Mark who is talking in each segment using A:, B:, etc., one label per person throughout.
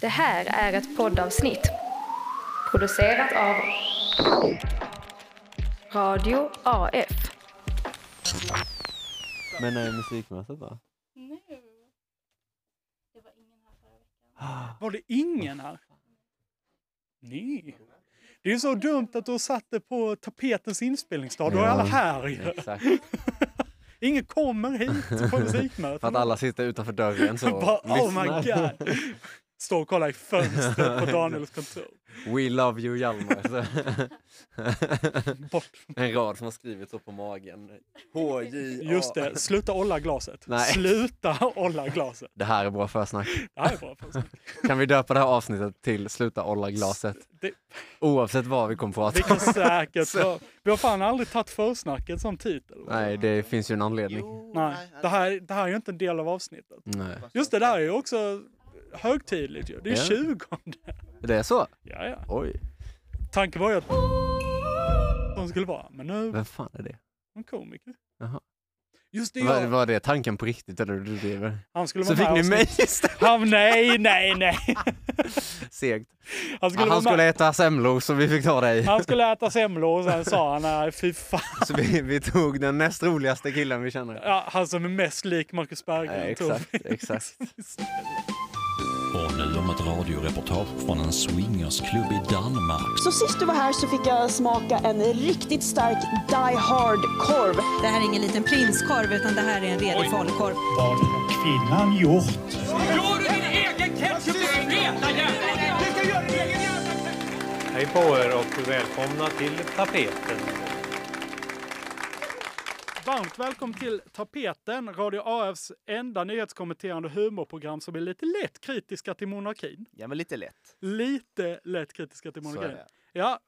A: Det här är ett poddavsnitt producerat av Radio AF.
B: Men eh, musikmässigt då?
C: Nu. Det var ingen här förra veckan.
D: Var det ingen här? Nej. Det är ju så dumt att du satte på tapetens inspelningsdag. Då är
B: Ja.
D: alla här ju.
B: Exakt.
D: Ingen kommer hit på
B: För att
D: musikmöten.
B: alla sitter utanför dörren så
D: Bara, oh my
B: lyssnar.
D: god. Står och kollar i fönstret på Daniels kontor.
B: We love you Hjalmar. Så-
D: Bort.
B: en rad som har skrivits upp på magen. HJ.
D: Just det, sluta olla glaset.
B: Nej.
D: Sluta olla glaset.
B: Det här är bra försnack.
D: Det här är bra. faktiskt.
B: Kan vi döpa det här avsnittet till Sluta olla glaset?
D: Det,
B: Oavsett vad vi kommer prata
D: vi
B: om.
D: kan säkert... Vi har fan aldrig tagit försnacket som titel.
B: Nej, det finns ju en anledning.
D: Nej, det här, det här är ju inte en del av avsnittet.
B: Nej.
D: Just det, där är ju också högtidligt ju. Det är
B: Ja.
D: 20.
B: Det är så?
D: Ja, ja.
B: Oj,
D: Tanken var ju att de skulle vara, men nu är
B: vem fan är det?
D: de komiker.
B: Jaha.
D: Just det,
B: Var,
D: jag.
B: var det tanken på riktigt eller du driver?
D: Han skulle
B: Så
D: vara
B: fick
D: med
B: ni
D: oss-
B: mig istället.
D: Han, nej, nej, nej.
B: Segt.
D: Han skulle,
B: Han
D: vara
B: skulle
D: med.
B: äta semlor så vi fick ta dig.
D: han skulle äta semlor och sen sa han, nej fy fan.
B: Så vi, vi tog den näst roligaste killen vi känner.
D: Ja, han som är mest lik Marcus
B: Nej,
D: Berggren. tror
B: exakt, exakt.
D: jag.
E: Och nu om ett radioreportage från en swingersklubb i Danmark.
F: Så sist du var här så fick jag smaka en riktigt stark Die Hard-korv.
G: Det här är ingen liten prinskorv utan det här är en redig falukorv.
H: kvinnan gjort?
I: Hej på er och välkomna till tapeten.
D: Varmt välkommen till Tapeten, Radio AFs enda nyhetskommenterande humorprogram som är lite lätt kritiska till monarkin.
J: Ja, men lite lätt.
D: Lite lätt kritiska till
J: är
D: monarkin.
J: det.
D: Ja,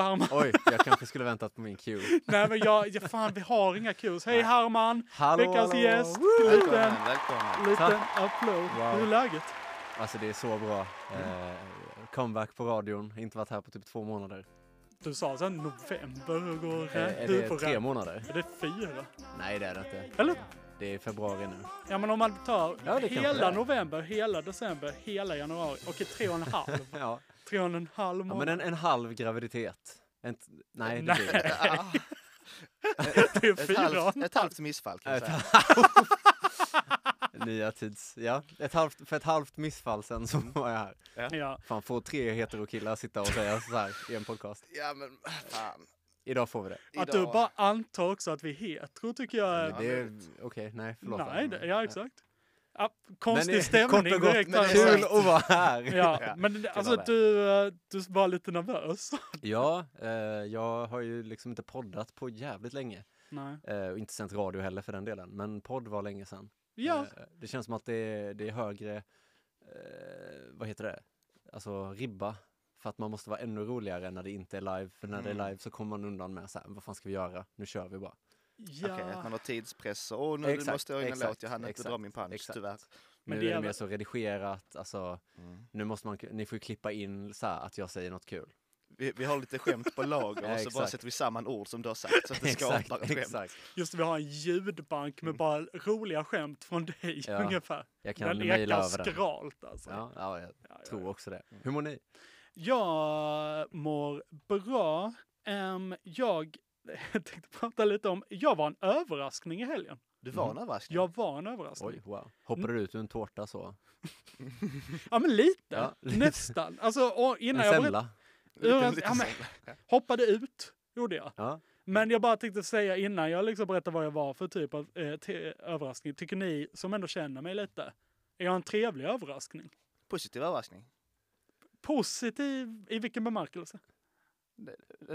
D: Herman.
B: Oj, jag kanske skulle väntat på min cue.
D: Nej men jag, ja, fan vi har inga kus. Hej Herman!
B: Hallå,
D: Veckans
B: hallå.
D: gäst. Liten,
J: Välkommen, välkommen.
D: liten
B: Tack.
D: applåd. Hur är
B: Wow.
D: läget?
B: Alltså det är så bra. Eh, comeback på radion, inte varit här på typ två månader.
D: Du sa sen november, hur går
B: Eh,
D: det?
B: är
D: Du
B: det
D: får
B: tre
D: räkna.
B: månader?
D: Är det fyra?
B: Nej det är det inte.
D: Eller?
B: Det är februari nu.
D: Ja men om man tar
B: Ja, det kanske det
D: hela
B: är.
D: november, hela december, hela januari. Okej, tre och en halv.
B: Ja,
D: Tre och en halv
B: ja
D: månad.
B: men en, en halv graviditet. En, t- nej, det blir det.
J: Ja,
D: det är
J: ett,
D: fyra.
J: halvt, ett halvt missfall kan jag
B: Ett
J: säga.
B: Nya tids... Ja, ett halvt, för ett halvt missfall sen så var jag här.
D: Ja.
B: Fan, får tre heterokillar sitta och säga så här i en podcast.
J: Ja, men fan.
B: Idag får vi det.
J: Idag.
D: Att du bara antar också att vi är hetero tycker jag är...
B: det är, Okej, nej förlåt.
D: Nej, det, ja exakt. Ja,
B: Men
D: konstig
B: det-
D: stämning
B: kort och gott,
D: direkt.
J: men
D: när
J: det
D: jag
J: är
D: sa-
B: Kul att vara här!
D: Ja, men alltså
B: vara
D: du, eh, du var lite nervös.
B: Ja, eh, jag har ju liksom inte poddat på jävligt länge.
D: Nej.
B: Eh, och inte sänt radio heller för den delen, men podd var länge sedan.
D: Ja,
B: Eh, det känns som att det är, det är högre, eh, vad heter det, alltså ribba. För att man måste vara ännu roligare när det inte är live. För när
D: Mm.
B: det är live så kommer man undan med så här, vad fan ska vi göra? Nu kör vi bara.
D: ja.
J: Okej, att man har tidspress. och, Åh, nu
B: Exakt,
J: måste jag ha en
B: exakt,
J: låt. Jag hann inte
B: exakt,
J: dra min punch,
B: exakt.
J: tyvärr.
D: Men
B: nu
D: det
B: är det
D: är
B: mer
D: väl-
B: så redigerat, alltså
J: Mm.
B: nu måste man, ni får ju klippa in så här att jag säger något kul.
J: Vi, vi har lite skämt på lager och så bara
B: Exakt.
J: sätter vi samman ord som du har sagt så att det skapar ett skämt.
B: exakt.
D: Just det, vi har en ljudbank med bara roliga skämt från dig
B: Mm. Ja,
D: ungefär.
B: Jag kan
D: Den
B: mejla
D: ekar
B: över den.
D: skralt alltså. Ja.
B: Ja, ja, jag
D: ja,
B: tror
D: ja.
B: också det. Hur mår ni?
D: Jag mår bra. Ehm, jag tänkte prata lite om, jag var en överraskning i helgen.
J: Du var en överraskning.
D: Jag var en överraskning.
B: Oj, wow. Hoppade du ut ur en tårta så?
D: Ja men lite,
B: Ja, lite.
D: nästan. Alltså och
B: En
D: innan jag berätt-
B: semla?
D: ur en-
J: Lite
D: ja, men,
J: så.
D: hoppade ut, gjorde jag.
B: Ja.
D: Men jag bara tänkte säga innan jag liksom berättar vad jag var för typ av eh, te- överraskning. Tycker ni som ändå känner mig lite, är jag en trevlig överraskning?
J: Positiv överraskning.
D: Positiv i vilken bemärkelse?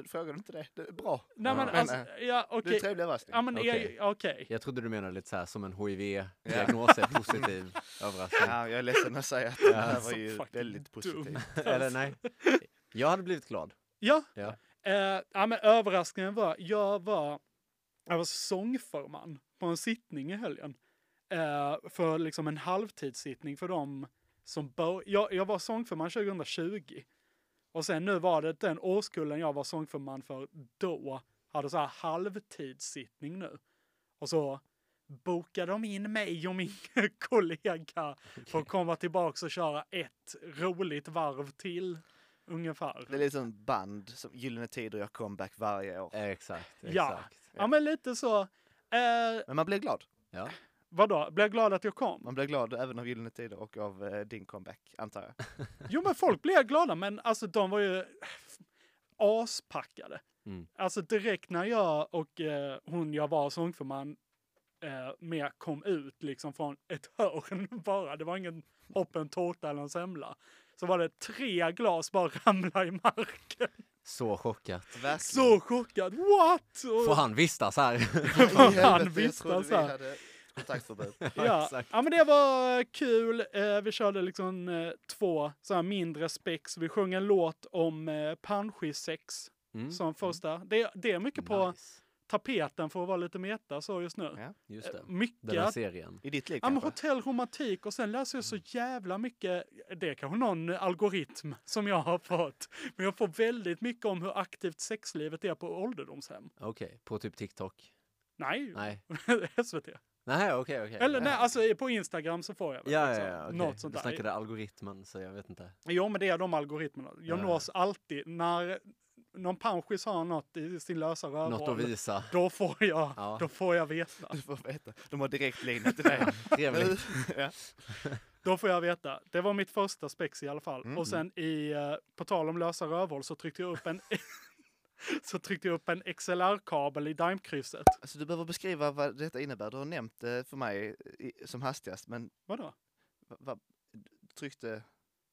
J: Frågar du inte det? det är bra.
D: Nej men
J: Men,
D: alltså,
J: eh,
D: ja
J: Du är
D: okej.
J: en trevlig överraskning.
D: Ja men
B: Okej.
D: okay. okej.
B: Jag trodde du menade lite så här som en HIV-diagnos är positiv överraskning.
J: Ja, jag är ledsen att säga att det här var
D: så
J: ju
D: fucking
J: väldigt positivt.
D: dumt.
B: Eller nej. Jag hade blivit glad.
D: Ja.
B: Ja.
D: Eh, ja, men överraskningen var, jag var, jag var sångförman på en sittning i helgen. Eh, för liksom en halvtidssittning för dem som bör, jag, jag var sångförman 2020. Och sen nu var det den årskullen jag var sångförman för då hade så här halvtidssittning nu. Och så bokade de in mig och min kollega för att komma tillbaka och köra ett roligt varv till, ungefär.
J: Det är lite som band, som Gyllene Tider gör comeback varje år.
B: Exakt,
D: Ja.
B: exakt.
D: Ja, men lite så. Eh,
J: Men man blir glad.
B: Ja.
D: vadå, blir jag glad att jag kom?
J: Man blir glad även av Gyllene Tider och av eh, din comeback, antar jag.
D: Jo, men folk blev glada, men alltså de var ju aspackade.
B: Mm.
D: Alltså direkt när jag och eh, hon jag var sångförman eh, med kom ut liksom från ett hörn bara, det var ingen hopp, en tårta eller en semla, så var det tre glas bara ramla i marken.
B: Så chockat.
J: Verkligen.
D: Så chockad, what?
B: Får
D: Och,
B: han vistas här?
D: fan
J: I helvete, jag
D: visst,
J: trodde
D: alltså.
J: vi hade kontaktförbud.
D: ja.
B: exakt.
D: ja, men det var kul. Eh, vi körde liksom eh, två så här mindre spex. Vi sjöng en låt om eh, panschissex
B: Mm.
D: som första. Det, det är mycket på
B: Nice.
D: tapeten för att vara lite meta så just nu.
B: Just det.
D: Eh,
B: Den här
D: Mycket.
B: serien.
J: I ditt liv
D: Ja, men
J: kanske?
D: hotell, romantik och sen läser jag
B: Mm.
D: så jävla mycket. Det är kanske någon algoritm som jag har fått. Men jag får väldigt mycket om hur aktivt sexlivet är på ålderdomshem.
B: Okej, på typ TikTok?
D: Nej,
B: Nej. Eh,
D: SVT.
B: Nej, okej, okej.
D: Eller
B: Ja.
D: nej, alltså på Instagram så får jag väl
B: Ja, ja,
D: liksom
B: ja. okej.
D: något sånt
B: du
D: där.
B: snackade algoritmen, så jag vet inte.
D: Jo, men det är de algoritmerna. Jag
B: Ja, ja.
D: nås alltid när någon panschis har något i sin lösa
B: Något att
D: rövhål.
B: visa.
D: Då får jag,
B: Ja.
D: då får jag veta.
J: Du får veta. De har direkt linje till dig.
B: Trevligt.
J: ja.
D: Då får jag veta. Det var mitt första spex i alla fall.
B: Mm.
D: Och sen i, eh, på tal om lösa rövhål så tryckte jag upp en så tryckte jag upp en XLR-kabel i Daimkrysset.
J: Alltså, du behöver beskriva vad detta innebär. Du har nämnt det för mig i, som hastigast, men
D: Vadå?
J: vad, vad, du tryckte...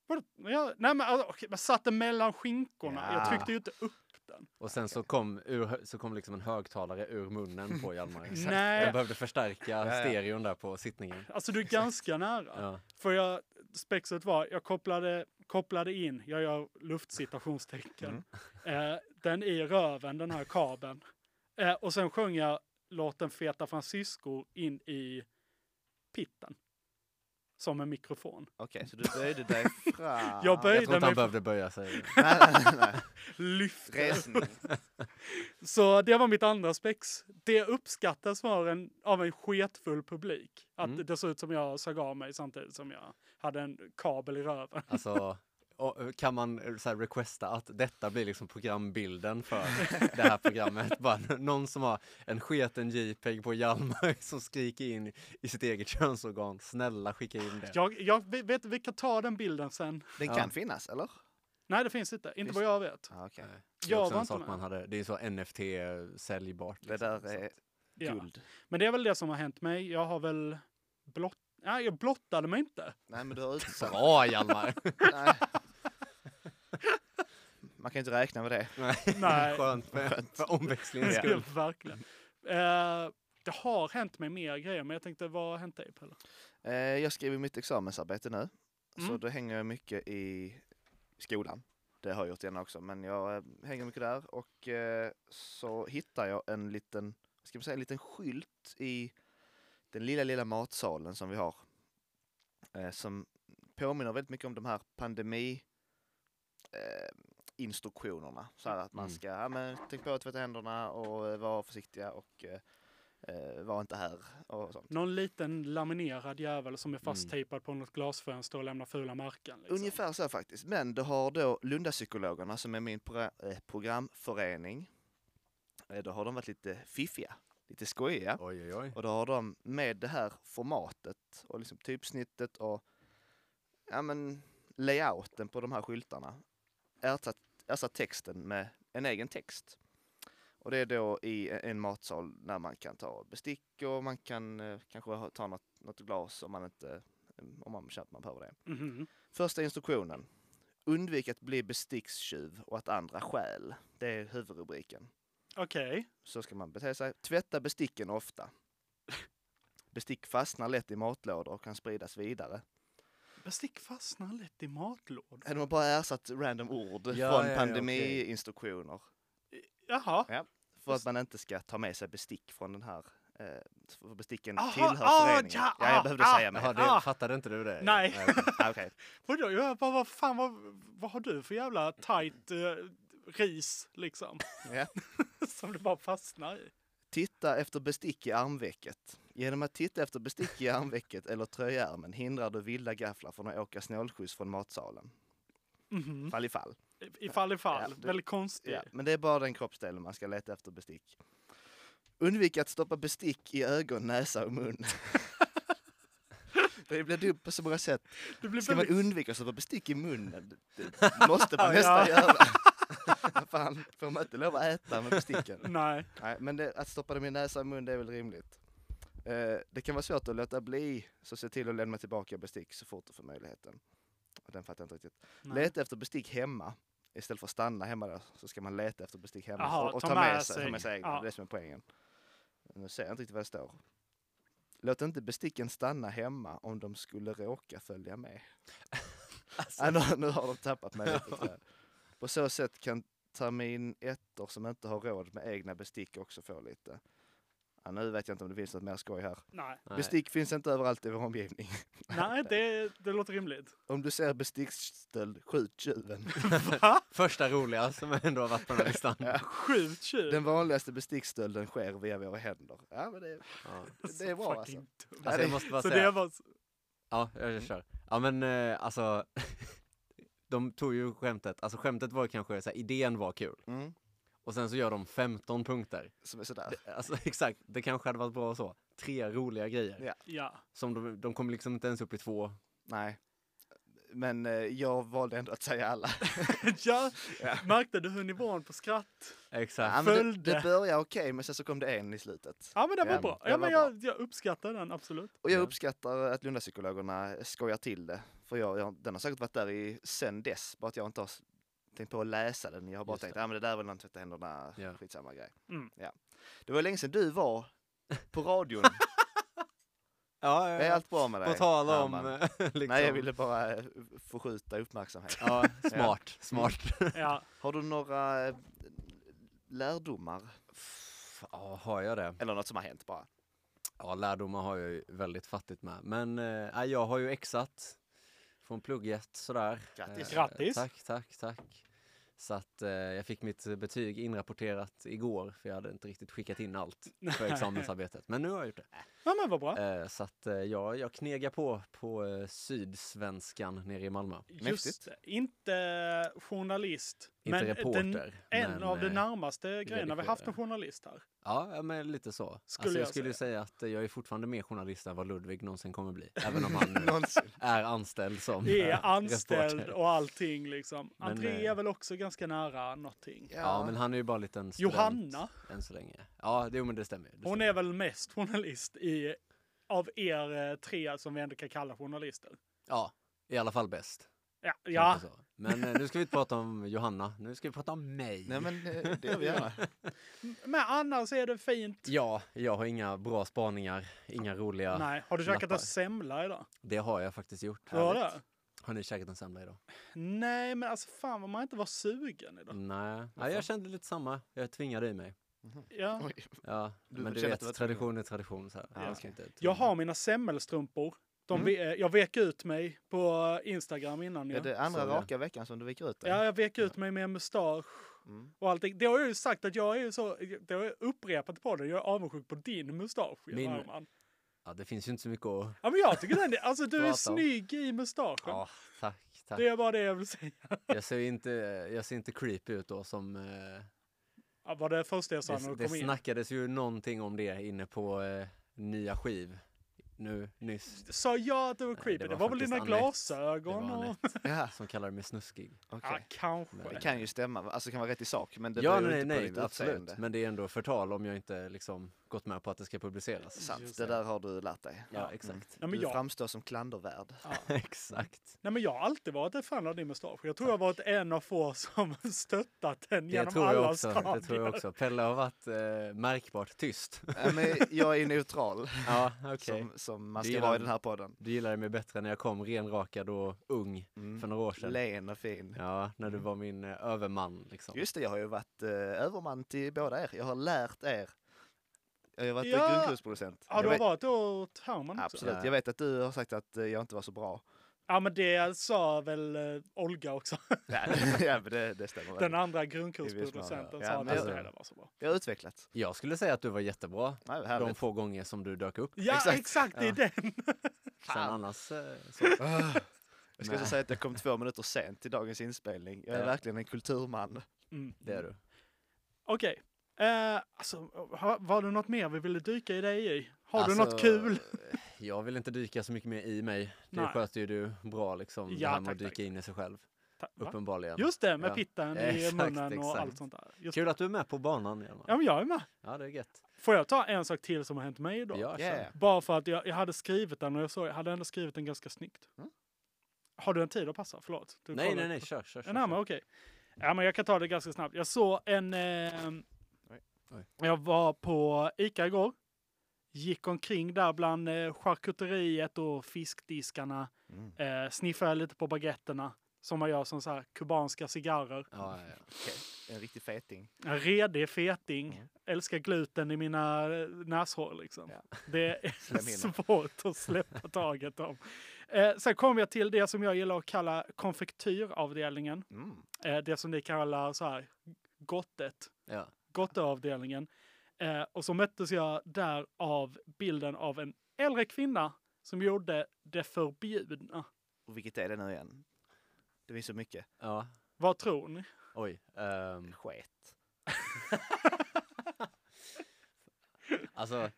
D: Vadå? Ja, nej men alltså, okej, jag satte mellan skinkorna. Jag
B: Ja.
D: tryckte ju inte upp den.
B: Och sen så kom, ur, så kom liksom en högtalare ur munnen på Hjalmar.
D: Nej.
B: Jag behövde förstärka
J: ja.
B: stereon där på sittningen.
D: Alltså du är ganska nära.
B: Ja.
D: För jag, spexet var, jag kopplade, kopplade in, jag gör luftcitationstecken, eh, den i röven, den här kabeln. Eh, och sen sjöng jag låten Feta Francisco in i pitten. Som en mikrofon.
J: Okej, så du böjde dig fram.
D: Jag böjde-
B: Jag tror inte han
D: mig-
B: behövde böja sig.
J: Nej, nej, nej.
D: Lyft.
J: Resning.
D: Så det var mitt andra spex. Det uppskattas var en, av en sketfull publik. Att
B: Mm.
D: det såg ut som jag såg av mig samtidigt som jag hade en kabel i röven.
B: Alltså, och, kan man eh, så här, requesta att detta blir liksom programbilden för det här programmet? Bara någon som har en sketen JPEG på Hjalmar som skriker in i sitt eget könsorgan. Snälla skicka in det.
D: Jag, jag vi- vet, vi kan ta den bilden sen.
J: Den
B: Ja.
J: kan finnas, eller?
D: Nej, det finns inte. Inte vad jag vet.
J: Ah, okej.
B: Det är
D: jag
B: också
D: var
B: en
D: inte
B: sak
D: med.
B: man hade, det är så NFT-säljbart.
J: Det där är
D: Ja.
J: guld.
D: Men det är väl det som har hänt mig. Jag har väl blott... Nej, jag blottade mig inte.
J: Nej, men du har utsatt.
B: Bra Hjalmar!
J: Nej. Man kan inte räkna med det.
D: Nej.
B: Skönt för, för omväxlingens
D: Ja,
B: skull.
D: Verkligen. Eh, det har hänt mig mer grejer, men jag tänkte, vad har hänt dig Pelle?
J: Eh, Jag skriver mitt examensarbete nu. Så
D: Mm.
J: då hänger jag mycket i skolan. Det har jag gjort innan också, men jag eh, hänger mycket där. Och eh, så hittar jag en liten, ska man säga, en liten skylt i den lilla, lilla matsalen som vi har. Eh, som påminner väldigt mycket om de här pandemi eh, instruktionerna. Så här att man
B: Mm.
J: ska, ja, men, tänk på att tvätta händerna och eh, vara försiktiga och eh, eh, var inte här och sånt.
D: Någon liten laminerad jävel som är
B: Mm.
D: fasttejpad på något glasfönster och lämnar fula märken. Liksom.
J: Ungefär så faktiskt. Men det har då Lundapsykologerna som är min pro- eh, programförening. Eh, Då har de varit lite fiffiga, lite skojiga.
B: Oj, oj, oj.
J: Och då har de med det här formatet och liksom typsnittet och ja, men, layouten på de här skyltarna ersatt, ersatt texten med en egen text. Och det är då i e- en matsal när man kan ta bestick och man kan eh, kanske ha- ta något, något glas om man inte om man känner att man behöver det.
D: Mhm.
J: Första instruktionen. Undvik att bli bestickstjuv och att andra stjäl. Det är huvudrubriken.
D: Okej.
J: Så ska man bete sig. Tvätta besticken ofta. Bestick fastnar lätt i matlådor och kan spridas vidare.
D: Bestick fastnar lätt i matlådor.
J: De har bara ersatt random ord
B: ja,
J: från
B: ja, okej.
J: pandemiinstruktioner.
D: Jaha.
J: För att man inte ska ta med sig bestick från den här... Eh, för besticken
D: Aha,
J: tillhör
D: ah,
J: föreningen.
D: ja,
J: ja, jag
D: ah,
J: behövde
D: ah,
J: säga mer.
B: Jaha, det,
D: Ah.
B: fattade inte du det?
D: Nej.
B: okej.
J: Ah, okej.
D: Vadå? Jag bara, vad fan, vad, vad har du för jävla tight eh, ris liksom?
J: Ja.
D: som du bara fastnar i.
J: Titta efter bestick i armvecket. Genom att titta efter bestick i armvecket eller tröjärmen hindrar du vilda gafflar från att åka snålskjuts från matsalen.
D: Mhm.
J: Fall i fall.
D: Ifall ifall.
J: Ja, du-
D: Väldigt konstig.
J: Ja, men det är bara den kroppsdelen man ska leta efter bestick. Undvik att stoppa bestick i ögon, näsa och mun. det blir dumt på så många sätt.
D: Det blir
J: Ska man
D: väldigt...
J: undvika att stoppa bestick i munnen? Det måste man nästan göra. Vad Fan, får man inte lov att äta med besticken?
D: Nej.
J: Nej, men det, att stoppa dem i näsa och mun, det är väl rimligt. Eh, det kan vara svårt att låta bli, så se till att lämna tillbaka bestick så fort du får möjligheten. Och Den fattar jag inte riktigt.
D: Nej.
J: Leta efter bestick hemma. Istället för att stanna hemma där så ska man leta efter bestick hemma
D: Jaha,
J: och, och
D: ta
J: ta,
D: med
J: med sig,
D: sig.
J: ta med sig egna.
D: Ja.
J: Det är det som är poängen. Nu ser jag inte riktigt vad det står. Låt inte besticken stanna hemma om de skulle råka följa med.
D: Alltså.
J: Nej, nu, nu har de tappat mig lite. tror jag. På så sätt kan termin ettor som inte har råd med egna bestick också få lite. Ja, nu vet jag inte om det finns något mer skoj här.
D: Nej.
B: Nej.
J: Bestick finns inte överallt i vår omgivning.
D: Nej, det, det låter rimligt.
J: Om du ser bestickstöld, skjut tjuven.
B: Första roliga som ändå har varit på den här listan.
J: Ja.
D: Sjukt tjuv.
J: Den vanligaste bestickstölden sker via våra händer. Ja, men det,
B: Ja.
J: det är bra alltså.
D: Fucking dumt.
B: Alltså jag måste bara
D: Så
B: säga.
D: det var...
B: Ja, jag, jag kör. Ja men eh, alltså, de tog ju skämtet, alltså skämtet var kanske så här, idén var kul.
J: Mm.
B: Och sen så gör de 15 punkter.
J: Som är sådär.
B: Det, alltså exakt, det kanske hade varit bra så. Tre roliga grejer.
J: Ja.
D: Ja.
B: Som de, de kom liksom inte ens upp i två.
J: Nej. Men eh, jag valde ändå att säga alla.
D: ja. Märkte du hur nivån på skratt?
B: Exakt.
J: Ja, men det,
D: följde.
J: det började okej, men sen så kom det en i slutet.
D: Ja men det
J: Ja,
D: var bra.
J: det
D: Ja men
J: var
D: jag, jag uppskattar den absolut.
J: Och jag
B: Ja.
J: uppskattar att Lundapsykologerna skojar till det. För jag, jag, den har säkert varit där i sen dess, bara att jag inte har s- tänkt på att läsa den. Jag har bara
B: Just
J: tänkt, ja ah, men det där är väl någon tvätta händerna,
B: Ja.
J: skitsamma grej.
D: Mm.
J: Ja. Det var länge sedan du var på radion.
B: Ja, ja,
J: är allt bra med dig?
B: På tal om...
J: Herman?
B: liksom,
J: Nej, jag ville bara eh, förskjuta uppmärksamhet.
B: Ja, smart, smart.
D: Ja.
J: Har du några eh, lärdomar?
B: Ja, har jag det?
J: Eller något som har hänt bara?
B: Ja, lärdomar har jag ju väldigt fattigt med. Men eh, nej, jag har ju exat från plugget sådär. Eh,
J: Grattis.
D: Grattis.
B: Tack, tack, tack. Så att eh, jag fick mitt betyg inrapporterat igår för jag hade inte riktigt skickat in allt för examensarbetet. Men nu har jag gjort det.
D: Ja men vad bra.
B: Eh, så att eh, jag, jag knegar på på eh, Sydsvenskan nere i Malmö.
D: Just det. Inte journalist.
B: Inte
D: men
B: reporter.
D: Den, en
B: men,
D: av de
B: eh,
D: närmaste grejerna vi haft en
B: redigerare.
D: journalist här.
B: Ja, ja, men lite så.
D: Skulle
B: alltså, jag,
D: jag
B: skulle säga. säga att eh, jag är fortfarande mer journalist än vad Ludvig någonsin kommer bli. Även om han nu
J: Någonsin.
B: är anställd som
D: Är
B: eh,
D: anställd
B: reporter.
D: och allting liksom.
B: Men,
D: André
B: eh,
D: är väl också ganska nära någonting.
B: Ja, men han är ju bara en liten student
D: Johanna,
B: än så länge. Ja, det, jo, men det stämmer. ju, Det
D: hon
B: stämmer.
D: är väl mest journalist i, av er eh, tre som vi ändå kan kalla journalister.
B: Ja, i alla fall bäst.
D: Ja, ja.
B: kanske Så. Men eh, nu ska vi inte prata om Johanna, nu ska vi prata om mig.
J: Nej, men eh, det gör vi gärna.
D: men annars är det fint.
B: Ja, jag har inga bra spaningar, inga roliga.
D: Nej, har du käkat
B: Lappar.
D: en semla idag?
B: Det har jag faktiskt gjort.
D: Du Har det?
B: Har ni käkat en semla idag?
D: Nej, men alltså fan vad man inte var sugen
J: Mm.
D: idag.
B: Nej. Nej, jag kände lite samma. Jag tvingade i mig.
D: Ja.
J: Oj.
B: Ja,
J: Du
B: men du
J: kände att det var
B: vet, tradition är tradition. Så här.
J: Ja,
B: Man
J: okej.
B: ska inte
D: Jag
B: tvinga.
D: har mina semmelstrumpor. De
J: Mm.
D: ve- eh, jag vek ut mig på eh, Instagram innan.
J: Är
D: Ja.
J: det andra
B: Så, ja.
J: raka veckan som du viker ut dig?
D: Ja, jag vek ut mig med en mustasch
J: Mm.
D: och allting. Det har jag ju sagt att jag är ju så, det har jag upprepat på det. jag är avundsjuk på din mustasch.
B: Min-
D: Min...
B: Ja, det finns ju inte så mycket att...
D: Ja, men jag tycker den är, alltså du är
B: Prata om.
D: snygg i mustaschen.
B: Ja, tack, tack.
D: Det är bara det jag vill säga.
B: Jag ser ju inte, jag ser inte creepy ut då som... Eh,
D: Ja, var det första jag sa när
B: det
D: du
B: det
D: kom in?
B: snackades ju någonting om det inne på eh, nya skiv nu nyss.
D: Sa jag att du var
B: Nej,
D: creepy?
B: det
D: Det
B: var
D: var, väl dina
B: faktiskt Anette.
D: glasögon?
B: Det var
D: och...
B: Anette
J: Ja,
B: som kallade mig snuskig.
J: okej.
D: Ja, kanske.
B: Nej.
J: Det kan ju stämma, va? alltså det kan vara rätt i sak, men det
B: ja,
J: beror
B: nej,
J: inte på
B: nej,
J: ditt
B: absolut.
J: utseende.
B: Men det är ändå förtal om jag inte liksom gått med på att det ska publiceras.
J: Sant, det där har du lärt dig.
B: Ja, exakt.
D: Nej, men
J: du
D: jag,
J: framstår som klandervärd.
B: exakt.
D: nej, men jag har alltid varit ett fan av din mustasch. Jag tror jag har varit en av få som stöttat den
B: Det
D: genom
B: tror,
D: alla
B: jag också,
D: stadier.
B: det tror jag också. Pelle har varit eh, märkbart tyst.
J: Ja, men jag är neutral,
B: ja, okej.
J: som, som man
B: Du
J: ska
B: gillar
J: vara i
B: den.
J: den här podden.
B: Du gillade mig bättre när jag kom renrakad och ung
J: Mm.
B: för några år sedan.
J: Len och fin.
B: Ja, när du var min eh, överman liksom.
J: Just det, jag har ju varit eh, överman till båda er. Jag har lärt er. Jag har varit
D: Ja.
J: ja. grundkursproducent.
D: Ja, du
J: jag
D: har
J: vet,
D: varit åt Herman också?
J: absolut,
B: Ja.
J: jag vet att du har sagt att eh, jag inte var så bra.
D: Ja, men det sa väl eh, Olga också.
J: ja, men det, det stämmer.
D: Den
J: väl.
D: andra
J: I
D: grundkursproducenten
J: viss
D: sa
J: mån,
D: att
J: ja. Ja,
B: alltså-
J: men-
D: det hela var så bra.
J: Jag har utvecklat.
B: Jag skulle säga att du var jättebra
J: Nej, vad
B: de
J: härligt.
B: få gånger som du dök upp.
D: Ja,
J: Exakt.
D: exakt, det är den.
B: Sen
J: Fan.
B: annars eh, så.
J: Ah, Jag ska
B: Nej.
J: också säga att jag kom två minuter sent till dagens inspelning. Jag är
B: Ja.
J: verkligen en kulturman.
D: Mm.
B: Det är du.
D: Okej. Eh, alltså, ha- var det något mer vi ville dyka i dig i? Har du
B: Alltså,
D: något kul?
B: Jag vill inte dyka så mycket mer i mig. Det
D: Nej.
B: sköter ju du bra liksom. det
D: Ja,
B: här med
D: tack,
B: att dyka
D: tack.
B: in i sig själv.
D: Ta- va?
B: Uppenbarligen.
D: Just det, med
B: Ja.
D: pittan i
B: Exakt,
D: munnen och
B: exakt.
D: allt sånt där. Just
B: Kul att du är med på banan. Hjalmar.
D: Ja, men jag är med.
B: Ja, det är gött.
D: Får jag ta en sak till som har hänt mig idag?
B: Ja,
J: Yeah.
D: Bara för att jag, jag hade skrivit den och jag såg, jag hade ändå skrivit den ganska snyggt.
J: Mm.
D: Har du en tid att passa? Förlåt. Du
B: Nej,
D: kollar.
B: nej, nej, kör, kör. kör,
D: En annan,
B: kör.
D: okej. Ja, men jag kan ta det ganska snabbt. Jag såg en... Eh,
B: Oj.
D: jag var på Ica igår. Gick omkring där bland eh, charkuteriet och fiskdiskarna.
J: Mm.
D: Eh, sniffade lite på baguetterna som man gör som så här kubanska cigarrer.
B: Ja, ja, ja.
J: En riktig feting.
D: En redig feting.
J: Mm.
D: Älskar gluten i mina eh, näshår liksom.
J: Ja.
D: Det är
J: Slemhinna.
D: svårt att släppa taget om. Eh, sen kom jag till det som jag gillar att kalla konfektyravdelningen.
J: Mm.
D: Eh, det som ni kallar så här gottet,
B: ja.
D: gotteavdelningen. Eh, och så möttes jag där av bilden av en äldre kvinna som gjorde det förbjudna.
J: Och vilket är det nu igen? Det finns så mycket.
B: ja.
D: Vad tror ni?
B: Oj. ehm,
J: Sket.
B: alltså,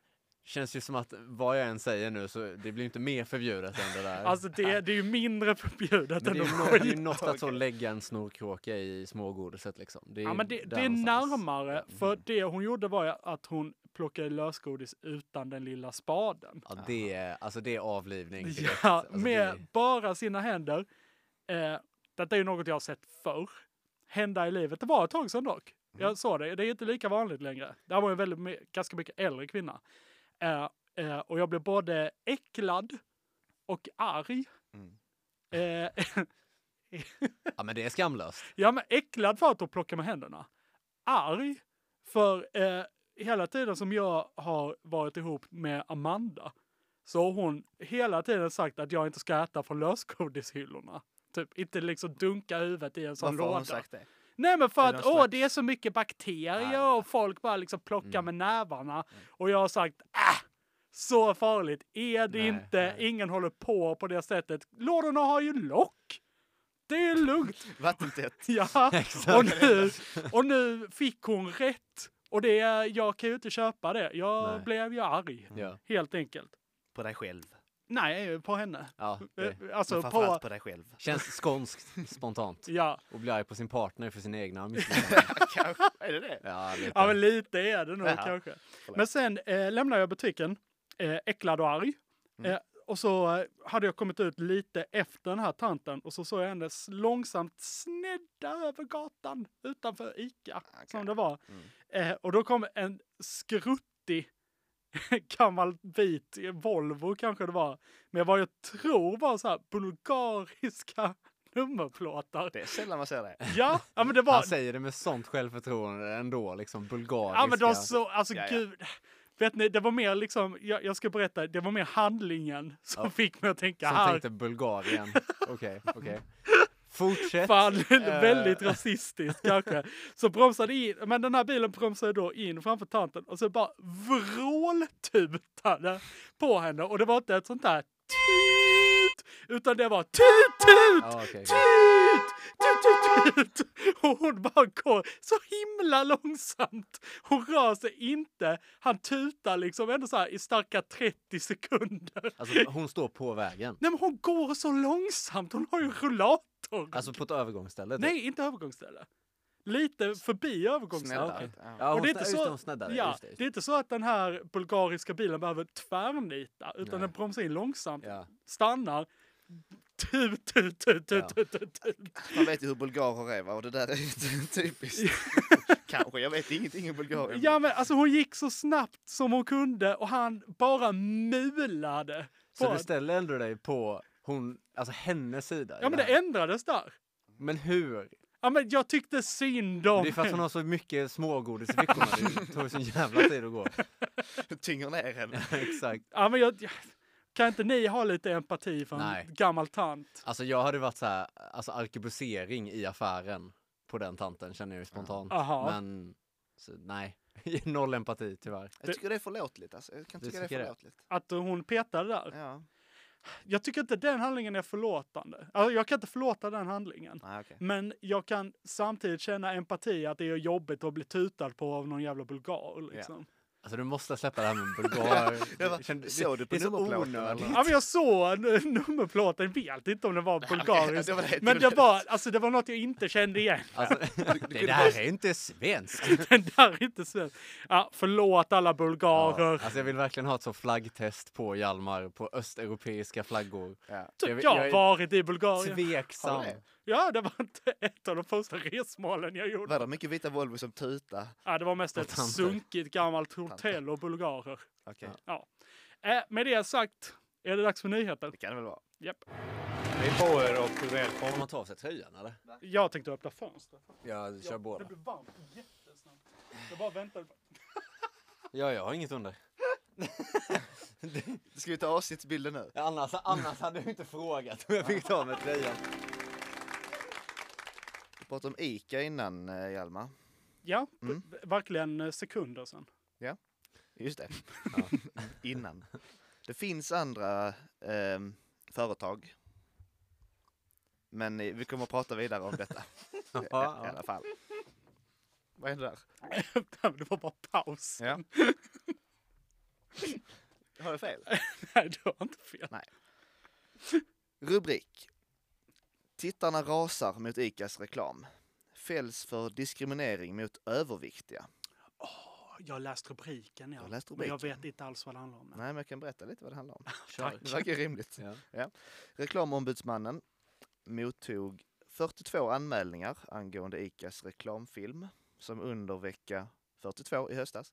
B: känns ju som att vad jag än säger nu så det blir inte mer förbjudet än det där.
D: Alltså det, det är ju mindre förbjudet
B: men
D: än
B: det, är ju
D: att
B: nå- det är ju
D: skita.
B: något att så lägga en snorkråka i smågodiset liksom. Det är
D: Ja
B: ju
D: men det,
B: där
D: det är
B: någonstans.
D: närmare, för det hon gjorde var ju att hon plockade lösgodis utan den lilla spaden.
B: Ja, det är, alltså det är avlivning. direkt.
D: Ja,
B: alltså,
D: med
B: Det,
D: bara sina händer. Eh, detta är ju något jag har sett förr hända i livet. Det var ett tag sedan dock.
B: Mm.
D: Jag såg det. Det är inte lika vanligt längre. Det här var ju en väldigt, my- ganska mycket äldre kvinna. Eh, eh, och jag blev både äcklad och arg.
J: Mm.
D: Eh,
B: ja, men det är skamlöst.
D: ja, men äcklad för att hon plockar med händerna. Arg för eh, hela tiden som jag har varit ihop med Amanda så har hon hela tiden sagt att jag inte ska äta från lösgodishyllorna. Typ inte liksom dunka huvudet i en sån
J: Varför har
D: låda.
J: hon sagt det?
D: Nej men för
J: Är
D: att
J: det någon
D: åh
J: slags-
D: det är så mycket bakterier och folk bara liksom
J: Mm.
D: plockar med nävarna. Och jag har sagt äh, så farligt är det
B: Nej,
D: inte. Ingen håller på på det sättet. Lådorna har ju lock. Det är lugnt.
J: Vattentätt.
D: Ja, och nu, och nu fick hon rätt. Och det, jag kan ju inte köpa det. Jag
B: Nej.
D: blev ju arg,
B: Ja.
D: helt enkelt.
J: På dig själv.
D: Nej, på henne.
B: Ja, det.
D: Eh,
J: Men
D: Alltså på...
J: framförallt på dig själv.
B: Känns skånskt, spontant.
D: Ja.
B: Och bli arg på sin partner för sina egna misslyckanden.
J: Kanske. Är det det?
B: Ja, lite.
D: ja, men lite är det nog
J: Jaha.
D: kanske. Men sen eh, lämnade jag butiken, eh, äcklad och arg. Eh, och så eh, hade jag kommit ut lite efter den här tanten och så såg jag henne s- långsamt snedda över gatan utanför Ica, som det var. Eh, och då kom en skruttig gammal bit eh, Volvo kanske det var, med vad jag tror var så här bulgariska nummerplåtar.
J: Det är sällan man ser det.
D: Ja, ja, men det var,
B: Han säger det med sånt självförtroende ändå, liksom bulgariska.
D: Ja men de så, alltså
J: Ja, ja.
D: gud. Vet ni, det var mer liksom, jag, jag ska berätta, det var mer handlingen som fick mig att tänka "Ah,
B: Som
D: här.
B: tänkte Bulgarien. Okej, okej. Fortsätt.
D: Fan,
B: Eh.
D: väldigt rasistiskt kanske. Så bromsade in, men den här bilen bromsade då in framför tanten och så bara vråltutade på henne. Och det var inte ett sånt där tut, utan det var tut, tut,
B: Ja, okej, okej.
D: tut, tut, tut, tut. Och hon bara går så himla långsamt. Hon rör sig inte. Han tutar liksom ändå så här i starka 30 sekunder.
B: Alltså hon står på vägen.
D: Nej men hon går så långsamt, hon har ju rullator.
B: Alltså på ett övergångsställe. typ.
D: Nej, inte övergångsställe. Lite förbi övergångsstället.
J: Snälla. Ja.
B: Ja, hon
D: Och det är
B: snä-
D: inte
B: Just
D: så-
B: det, hon sneddade.
D: Ja,
B: just det, just
D: det är inte så att den här bulgariska bilen behöver tvärnita,
B: Nej.
D: utan den bromsar in långsamt,
B: det. Ja.
D: stannar, tut, tut, tut, tut,
B: Ja.
D: tut, tut, tut.
J: Man vet ju hur bulgarer är va? Och det där är ju typiskt. Kanske. Jag vet ingenting om Bulgarien.
D: Ja, men alltså hon gick så snabbt som hon kunde och han bara mulade.
B: Så
D: på
B: du
D: att-
B: ställer ändå dig på hon, alltså hennes sida. i
D: ja, men
B: här.
D: det ändrades där.
B: men hur?
D: Ja, men jag tyckte synd
B: Det
D: om
B: är för att hon har så mycket smågodis i fickorna. Det tar ju sån jävla tid att gå.
J: Tynger ner henne.
B: Exakt.
D: Ja, men jag, jag, Kan inte ni ha lite empati för en
B: Nej.
D: gammal tant?
B: Alltså jag hade varit så här, alltså arkebusering i affären på den tanten känner jag ju spontant.
D: Aha.
B: Men så, nej, noll empati tyvärr.
J: Jag tycker det är förlåtligt. Alltså. Jag kan
B: Du
J: tycka det är
B: tycker det?
J: förlåtligt.
D: Att hon petade där.
J: Ja.
D: Jag tycker inte den handlingen är förlåtande. Alltså, jag kan inte förlåta den handlingen.
B: Ah,
J: Nej, okej.
D: Men jag kan samtidigt känna empati att det är jobbigt att bli tutad på av någon jävla bulgar. Liksom.
B: Alltså du måste släppa det här med bulgar.
J: Jag bara,
B: Det kände-
J: såg du på
B: det är så
J: nummerplåten,
B: onödigt.
J: eller?
D: Ja, men jag såg en- nummerplåten, vet inte om den var bulgarisk.
J: det var det.
D: men det var, alltså, det var något jag inte kände igen.
B: Alltså, det där är inte svenskt.
D: Den där är inte svensk. Ja, förlåt alla bulgarer.
B: Ja, alltså jag vill verkligen ha ett så flaggtest på Hjalmar, på östeuropeiska flaggor.
J: Ja.
D: Typ
B: jag-
D: jag,
B: jag är
D: har varit i Bulgarien.
B: Tveksam.
J: Har du det?
D: Ja, det var inte ett av de första resmålen jag gjorde.
J: Var det mycket vita Volvo som tuta?
D: Ja, det var mest ett
B: tanter.
D: sunkigt gammalt hotell och bulgarer.
J: Okej,
D: Äh, med det sagt, är det dags för nyheter?
J: det kan det väl vara.
D: Japp.
I: Hej på er och
B: Får
I: välkomna.
B: man ta av sig tröjan eller?
D: Jag tänkte öppna fönstret.
B: Jag kör
D: Det
B: båda.
D: blev varmt jättesnabbt. Jag bara väntade. på-
B: Ja, jag har inget under.
J: Ska vi ta avsnittsbilden nu?
B: Ja, Annars, annars hade du inte frågat om jag fick ta med tröjan.
J: Vi pratade om Ica innan, eh, Hjalmar.
D: Ja,
J: Mm.
D: b- verkligen eh, sekunder sedan.
J: Just det. innan. Det finns andra ehm, företag. Men eh, vi kommer att prata vidare om detta. I
B: ja.
J: alla fall. Vad hände där?
D: det var bara paus.
J: Ja. Har jag fel?
D: Nej, du har inte fel.
J: Rubrik. Tittarna rasar mot ICAs reklam. Fälls för diskriminering mot överviktiga.
D: Jag har läst rubriken, ja.
J: Du har läst
D: Men jag
J: rubriken.
D: vet inte alls vad det handlar om.
J: Nej, men jag kan berätta lite vad det handlar om.
B: Kör.
J: Det verkar rimligt.
B: Ja.
J: Reklamombudsmannen mottog 42 anmälningar angående ICAs reklamfilm som under vecka 42 i höstas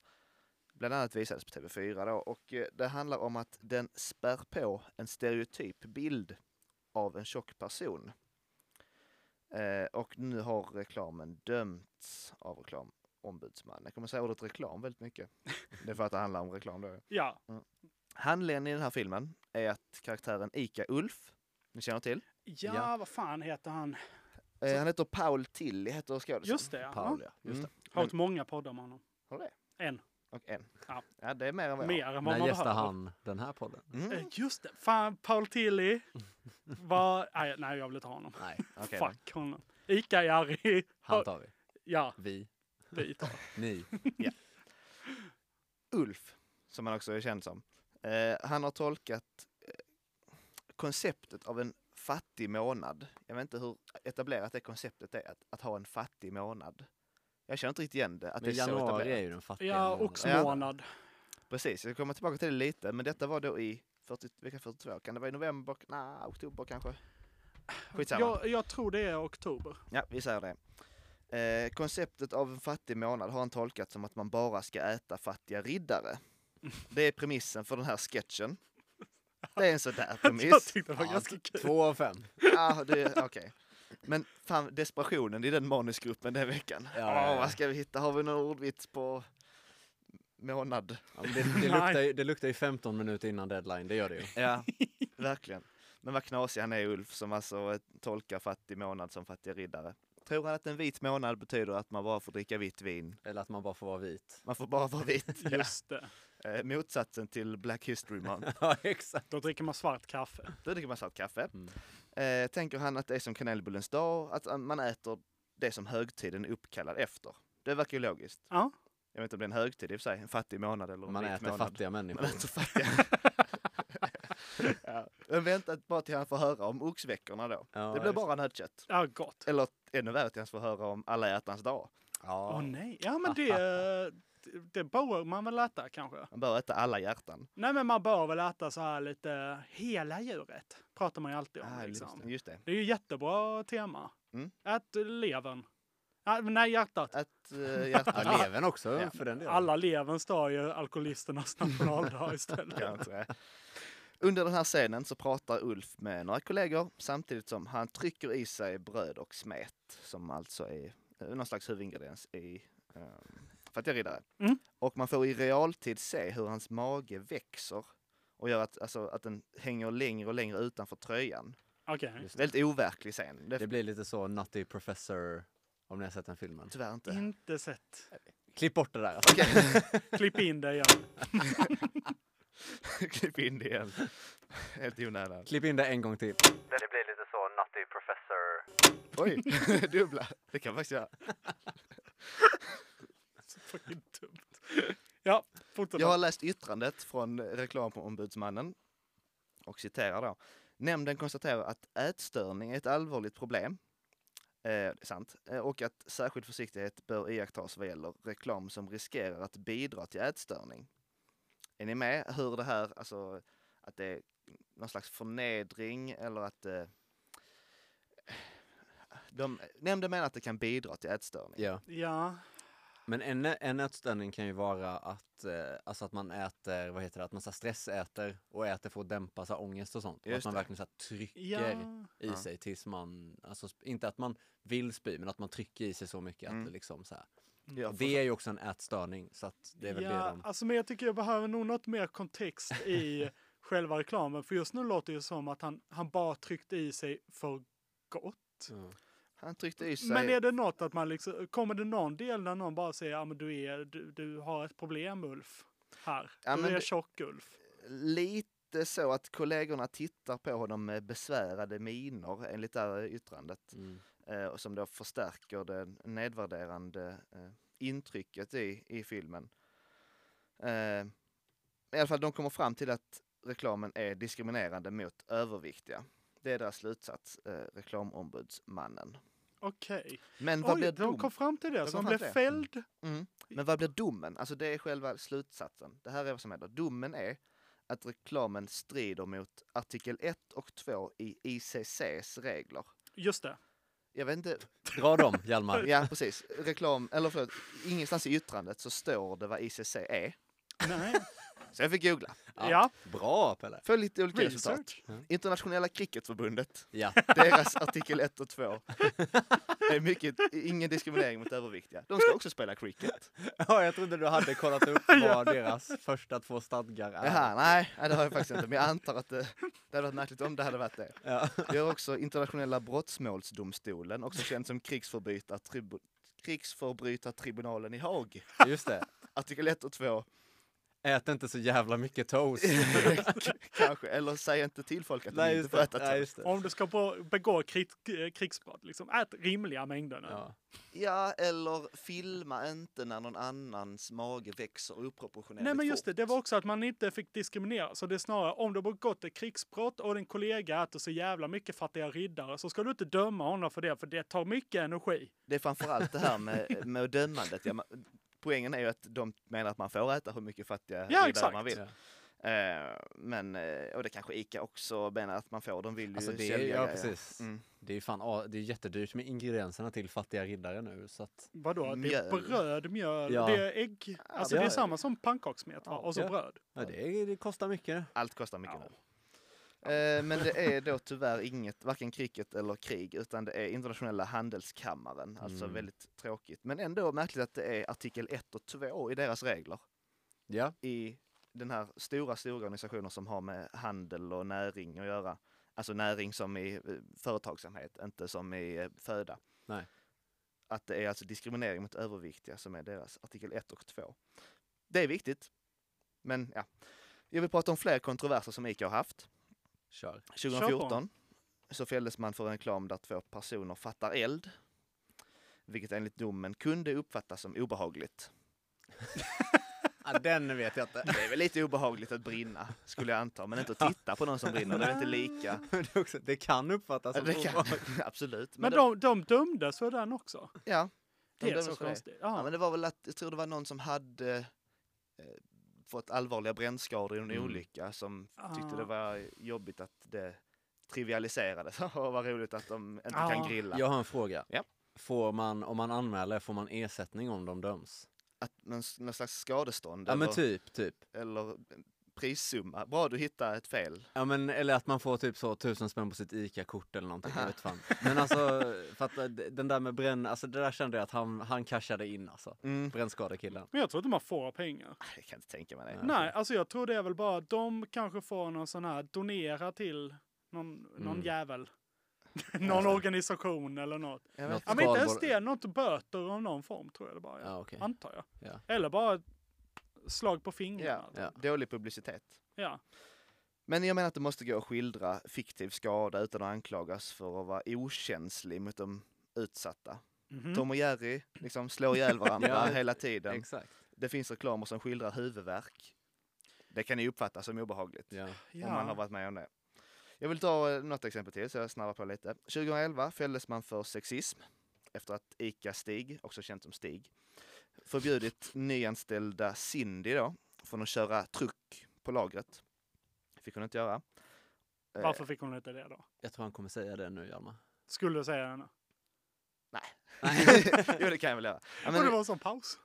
J: bland annat visades på TV4. Då, och eh, det handlar om att den spär på en stereotyp bild av en tjock person. Eh, och nu har reklamen dömts av reklamombudsmannen. Jag kommer säga ordet reklam väldigt mycket. Det är för att det handlar om reklam då.
D: Ja,
J: Handlingen i den här filmen är att karaktären Ika Ulf, ni känner till.
D: ja,
B: Ja.
D: vad fan heter han?
J: Eh, han heter Paul Tilly, heter skådisen.
D: Just det, ja.
B: Paul, ja. Just
J: Mm.
B: det.
D: Har hört många poddar med honom.
J: Har du det?
D: En.
J: Och en.
D: Ja.
J: Ja, det är mer än vad jag
D: Mer än vad
B: När
D: man
B: gästar
D: behöver.
B: han den här podden?
J: Mm.
D: Eh, Just det. Fan, Paul Tilly var... Nej, nej, jag vill inte ha honom.
B: Nej,
J: okej då.
D: Fuck honom. Ica-Jari.
B: han tar vi.
D: Ja,
B: Vi.
D: vi tar.
B: Ni.
J: Ulf, som han också är känd som. Eh, han har tolkat eh, konceptet av en fattig månad. Jag vet inte hur etablerat det konceptet är, att, att ha en fattig månad. Jag känner inte riktigt igen det. Att
B: Men
J: det är så
B: januari
J: etablerat.
B: är ju den fattiga
D: Ja,
B: månaden.
D: oxmånad.
J: Precis, jag kommer tillbaka till det lite, men detta var då i 40, vecka 42. Kan det vara i november? Nej, oktober kanske? Skitsamma.
D: Jag, jag tror det är oktober.
J: Ja, vi säger det. Eh, konceptet av en fattig månad har han tolkat som att man bara ska äta fattiga riddare. Det är premissen för den här sketchen. Det är en sådär
D: Jag
J: premiss.
D: tyckte det var
B: Ja,
D: ganska kul.
B: Två av fem.
J: Ja, det, okej. Men fan, desperationen i den manusgruppen den veckan.
B: Ja,
J: Ja,
B: ja, ja.
J: Vad ska vi hitta? Har vi någon ordvits på månad?
B: Ja, men det, det,
D: Nej.
B: luktar ju, det luktar ju 15 minuter innan deadline, det gör det ju.
J: Ja, verkligen. Men vad knasig han är Ulf som alltså eh, tolkar fattig månad som fattiga riddare. Tror han att en vit månad betyder att man bara får dricka vitt vin?
B: Eller att man bara får vara vit.
J: Man får bara vara vit.
D: Just det.
J: Eh, motsatsen till Black History Month.
B: Ja, exakt.
D: Då dricker man svart kaffe.
J: Då dricker man svart kaffe.
B: Mm.
J: Eh, tänker han att det är som kanelbullens dag, att eh, man äter det som högtiden är uppkallad efter. Det verkar ju logiskt.
D: Ja.
J: Jag vet inte om det är en högtid i och för sig, en fattig månad eller en
B: Man
J: vit
B: äter
J: månad.
B: fattiga människor.
J: Man äter fattiga. ja. Men vänta bara till han får höra om oxveckorna då.
B: Ja,
J: det blir
B: just-
J: bara nötkött.
D: Ja, gott.
J: Eller ännu värre till han får höra om alla hjärtans dag.
B: Ja.
D: Åh nej. Ja, men det... Det bör man väl äta kanske?
J: Man bör äta alla hjärtan.
D: Nej, men man bör väl äta så här lite hela djuret. Pratar man ju alltid om.
J: Ah,
D: liksom.
J: just, just det.
D: Det är ju jättebra tema.
J: Mm.
D: Ät levern. Äh, nej, hjärtat.
J: Att eh,
B: Ja,
J: hjärtan
B: levern också
J: Ja.
B: för den delen.
D: Alla leverns dag är ju alkoholisternas nationaldag istället.
J: kanske. Under den här scenen så pratar Ulf med några kollegor samtidigt som han trycker i sig bröd och smet som alltså är eh, någon slags huvudingrediens i ehm, um, Fattiga riddare.
D: Mm.
J: Och man får i realtid se hur hans mage växer och gör att, alltså, att den hänger längre och längre utanför tröjan.
D: Okej.
B: Just det.
J: Väldigt overklig scen. Det
B: det blir lite så Nutty Professor, om ni har sett den filmen.
J: tyvärr inte.
D: Inte sett.
B: Klipp bort det där.
D: Klipp in det igen.
J: Klipp in det igen. Helt i onödan.
B: Klipp in det en gång till. Det blir lite så Nutty Professor.
J: Oj, dubbla. Det kan jag faktiskt göra.
D: Så fucking dumt. Ja, fortsätt.
J: Jag har läst yttrandet från reklamombudsmannen och citerar då. Nämnden konstaterar att ätstörning är ett allvarligt problem. Eh, det är sant. Eh, och att särskild försiktighet bör iakttas vad gäller reklam som riskerar att bidra till ätstörning. Är ni med hur det här, alltså att det är någon slags förnedring eller att eh, de, nämnden menar att det kan bidra till ätstörning.
B: Ja.
D: Ja,
B: Men en, en ätstörning kan ju vara att, eh, alltså att man äter, vad heter det, att man så här stressäter och äter för att dämpa så här, ångest och sånt. Och att
J: Just
B: man
J: det.
B: verkligen så här, trycker
D: ja.
B: i
J: Ja.
B: sig tills man, alltså sp- inte att man vill spy, men att man trycker i sig så mycket att
J: Mm.
B: det liksom så här.
J: Ja,
B: Och det är ju också en ätstörning, så att det är väl det
D: ja,
B: de...
D: alltså men jag tycker jag behöver nog något mer kontext i själva reklamen. För just nu låter det ju som att han, han bara tryckte i sig för gott.
B: Ja.
J: Han tryckte i sig.
D: Men är det något att man liksom, kommer det någon del där någon bara säger, ja men du är, du, du har ett problem Ulf. Här,
J: Ja,
D: du
J: men
D: är
J: det-
D: tjock Ulf.
J: lite så att kollegorna tittar på honom med besvärade miner enligt det här yttrandet.
B: Mm.
J: Eh, och som då förstärker det nedvärderande eh, intrycket i, i filmen. Eh, I alla fall, de kommer fram till att reklamen är diskriminerande mot överviktiga. Det är deras slutsats, eh, reklamombudsmannen.
D: Okej.
J: Men vad,
D: Oj,
J: blir
D: de
J: dom?
D: kom fram till det,
J: De
D: så
J: kom
D: de blev
J: fram till det.
D: fälld.
J: Mm. Men vad blir domen? Alltså det är själva slutsatsen. Det här är vad som händer. Domen är att reklamen strider mot artikel 1 och 2 i ICCs regler.
D: Just det.
J: Jag vet inte,
B: Dra dem, Hjalmar.
J: ja precis. Reklam, eller förlåt, ingenstans i yttrandet så står det vad ICC är.
D: Nej.
J: Så jag fick googla.
B: Ja.
D: ja.
B: Bra, Pelle!
J: För lite olika resultat.
D: Research.
J: Internationella cricketförbundet,
B: Ja,
J: deras artikel 1 och 2. Det är mycket, ingen diskriminering mot överviktiga. De ska också spela cricket.
B: ja jag trodde du hade kollat upp vad deras första två stadgar är.
J: Jaha, nej, nej, det har jag faktiskt inte. Men jag antar att det, det hade varit märkligt om det hade varit det.
B: Ja.
J: Vi har också internationella brottmålsdomstolen, också känd som krigsförbrytartribu- krigsförbrytartribunalen i Haag.
B: Just det.
J: Artikel 1 och 2,
B: Ät inte så jävla mycket toast.
J: kanske. Eller säg inte till folk att
B: Nej,
J: de
B: just
J: inte
B: det.
J: får
B: Ja,
J: äta toast.
B: just det.
D: Om du ska på- begå krig, krigsbrott, liksom, ät rimliga mängder nu.
B: Ja.
J: Ja, eller filma inte när någon annans mage växer oproportionerligt
D: Nej men just det,
J: fort.
D: det var också att man inte fick diskriminera. Så det är snarare om du har begått ett krigsbrott och din kollega äter så jävla mycket fattiga riddare så ska du inte döma honom för det, för det tar mycket energi.
J: Det är framförallt det här med, med dömandet. Ja, man, poängen är ju att de menar att man får äta hur mycket fattiga
D: Ja,
J: riddare
D: exakt.
J: man vill.
B: Ja.
J: Eh, men, eh, och det kanske Ica också menar att man får. De vill ju
B: Alltså det är,
J: sälja
B: ja
J: grejer.
B: precis.
J: Mm.
B: Det är fan, ah, det är jättedyrt med ingredienserna till fattiga riddare nu så att,
D: Vadå?
J: Mjöl.
D: Det är bröd, mjöl,
B: Ja.
D: det är ägg. Alltså
B: det
D: det,
B: har
D: är
B: jag.
D: samma som pannkakssmet va?
B: Ja,
D: och så
B: ja.
D: bröd.
B: ja, det, det kostar mycket.
J: Allt kostar mycket nu. Eh, Men det är då tyvärr inget, varken kriget eller krig, utan det är internationella handelskammaren. Alltså
B: Mm.
J: väldigt tråkigt. Men ändå märkligt att det är artikel 1 och 2 i deras regler.
B: Ja,
J: I den här stora, stora organisationen som har med handel och näring att göra. Alltså näring som i eh, företagsamhet, inte som i eh, föda.
B: Nej.
J: Att det är alltså diskriminering mot överviktiga som är deras artikel 1 och 2. Det är viktigt. Men ja. Jag vill prata om fler kontroverser som ICA har haft.
B: kör.
J: 2014 så fälldes man för en reklam där två personer fattar eld. Vilket enligt domen kunde uppfattas som obehagligt.
B: Ja, den vet jag inte.
J: Det är väl lite obehagligt att brinna, skulle jag anta. Men inte att titta på någon som brinner, det är inte lika.
B: det, är också, det kan uppfattas som
J: Det kan,
B: Alltså, obehagligt.
J: absolut.
D: Men
J: det-
D: de, de dömdes för den också.
J: ja,
D: Det är
J: dömdes
D: så
J: för det.
D: konstigt.
J: Ja,
D: Ja.
J: men det var väl att, jag tror det var någon som hade eh, fått allvarliga brännskador i en
B: Mm.
J: olycka som tyckte
D: Ah.
J: det var jobbigt att det trivialiserades. Och vad roligt att de inte
D: Ah.
J: kan grilla.
B: Jag har en fråga.
J: Ja.
B: Får man, om man anmäler, får man ersättning om de döms?
J: Att någon, någon slags skadestånd
B: Ja men
J: eller,
B: typ, typ.
J: eller prissumma. Bra, du hittade ett fel.
B: Ja men eller att man får typ så tusen spänn på sitt ICA-kort eller någonting, jag vet fan. Men alltså, för att eh, d- den där med bränn, alltså det där kände jag att han, han cashade in alltså.
J: Mm.
B: Brännskadekillen.
D: Ah. Men jag tror inte man får pengar.
J: Jag kan inte tänka mig det.
B: Nej.
D: Nej, alltså jag tror det är väl bara att de kanske får någon sån här donera till någon, någon
B: Mm.
D: jävel. någon organisation eller något.
J: Jag
B: Något
J: vet.
D: Ja men inte ens
B: skalboll-
D: det, något böter av någon form tror jag det bara är.
B: Ja, okej.
D: Antar jag.
B: Ja.
D: Eller bara ett slag på fingrarna.
B: Ja.
J: Dålig publicitet.
D: Ja.
J: Men jag menar att det måste gå att skildra fiktiv skada utan att anklagas för att vara okänslig mot de utsatta.
D: Mhm.
J: Tom och Jerry liksom slår ihjäl varandra
B: Mm. Ja,
J: hela tiden.
B: Exakt.
J: det finns reklamer som skildrar huvudvärk. Det kan ju uppfattas som obehagligt
B: Ja.
D: ja.
J: om man har varit med om det. Jag vill ta eh, något exempel till så jag snabbar på lite. 2011 fälldes man för sexism efter att ICA-Stig, också känt som Stig, förbjudit nyanställda Cindy då från att köra truck på lagret. fick hon inte göra. Eh,
D: Varför fick hon inte det då?
B: Jag tror han kommer säga det nu Hjalmar.
D: Skulle du säga henne?
J: jo, det kan jag väl göra. Ja,
D: Men,
J: men-
D: det var en sån paus.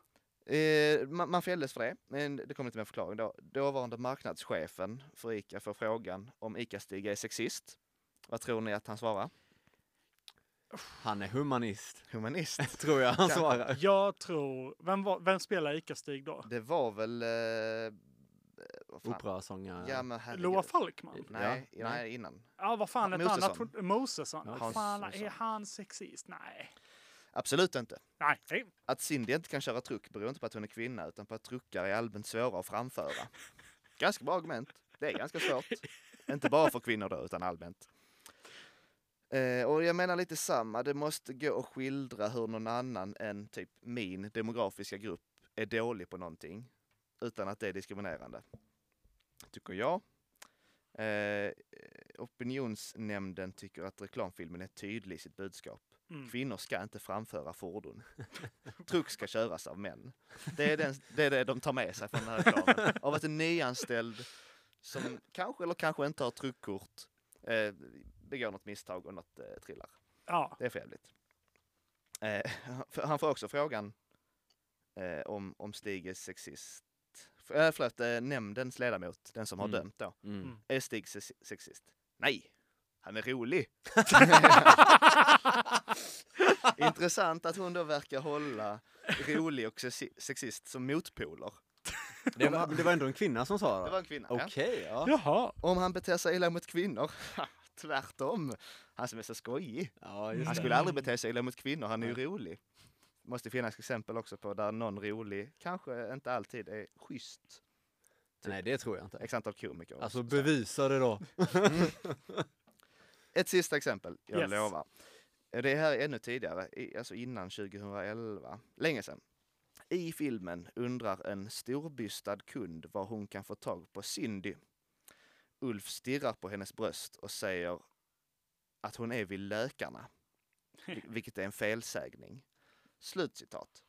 J: Eh, man, man fälldes för det, men det kom inte med en förklaring. Då, dåvarande marknadschefen för ICA får frågan om ICA-Stig är sexist. Vad tror ni att han svarar?
B: Han är humanist,
J: Humanist.
B: tror jag han
J: Ja.
B: svarar.
D: Jag tror, vem, var, vem spelar ICA-Stig då?
J: Det var väl... Eh, vad fan?
B: Operasångare. Mm.
J: Ja, men herregud.
D: Loa Falkman?
J: Nej,
B: Ja,
J: nej, innan.
D: Ja, vad fan ett
J: Mosesson.
D: annat ord- Mosesson.
B: Ja,
D: Ja,
J: Hans
D: fan,
J: Mosesson.
D: är han sexist? Nej.
J: Absolut inte.
D: Nej. nej.
J: Att Cindy inte kan köra truck beror inte på att hon är kvinna, utan på att truckare är allmänt svåra att framföra. Ganska bra argument. Det är ganska svårt. inte bara för kvinnor då, utan allmänt. Eh, och jag menar lite samma, det måste gå att skildra hur någon annan än typ min demografiska grupp är dålig på någonting utan att det är diskriminerande. Tycker jag. Eh, opinionsnämnden tycker att reklamfilmen är tydlig i sitt budskap.
D: Mm.
J: Kvinnor ska inte framföra fordon. Truck ska köras av män. Det är, den, det är det de tar med sig från den här reklamen. Av att en nyanställd som kanske eller kanske inte har truckkort eh, begår något misstag och något eh, trillar.
D: Ja.
J: Det är för jävligt. Eh, för- han får också frågan eh, om, om Stig är sexist. F- eh, förlåt, eh, nämndens ledamot, den som har
B: Mm.
J: dömt då.
B: Mm.
J: Är Stig se- sexist? Nej, han är rolig. Intressant att hon då verkar hålla rolig och sexi- sexist som motpoler.
B: Det, var, det var ändå en kvinna som sa
J: Det var
B: det.
J: en kvinna. ja.
B: Okej, ja.
D: Jaha.
J: Om han beter sig illa mot kvinnor? Tvärtom. Han som är så skojig.
B: ja just
J: Han
B: det.
J: skulle aldrig bete sig illa mot kvinnor, han är ju rolig. Det måste finnas exempel också på där någon rolig kanske inte alltid är schysst.
B: Nej, det tror jag inte.
J: X antal komiker. och
B: Alltså
J: så- så.
B: bevisa det då.
J: Ett sista exempel, jag
D: Yes.
J: lovar. Det här är ännu tidigare, i- alltså innan 2011. Länge sedan. I filmen undrar en storbystad kund var hon kan få tag på Cindy. Ulf stirrar på hennes bröst och säger att hon är vid läkarna. vil- Vilket är en felsägning. Slutcitat.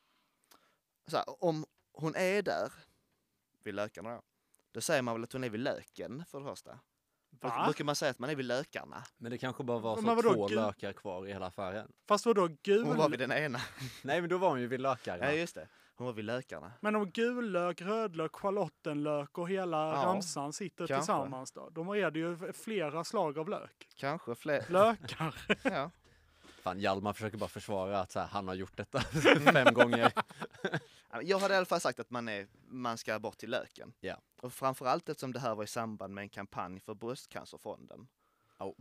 J: Så här, om hon är där, vid läkarna då, då säger man väl att hon är vid löken för det första.
D: Va?
J: Brukar man säga att man är vid lökarna?
B: Men det kanske bara var
D: Men
B: så
D: vadå,
B: två
D: gud?
B: lökar kvar i hela affären.
D: Fast vadå gul?
J: Hon var vid den ena.
B: Nej, men då var hon ju vid lökar.
J: Ja,
B: Ja.
J: just det. Hon var vid lökarna.
D: Men om gul lök, rödlök, schalottenlök och hela
J: Ja,
D: ramsan sitter
J: kanske.
D: tillsammans då? Då är det ju flera slag av lök.
J: Kanske fler.
D: Lökar.
J: Ja.
B: Fan, Hjalmar försöker bara försvara att så här, han har gjort detta fem gånger.
J: Jag hade i alla fall sagt att man, är, man ska bort till löken.
B: Ja.
J: Och framförallt eftersom det här var i samband med en kampanj för Bröstcancerfonden.
B: Au.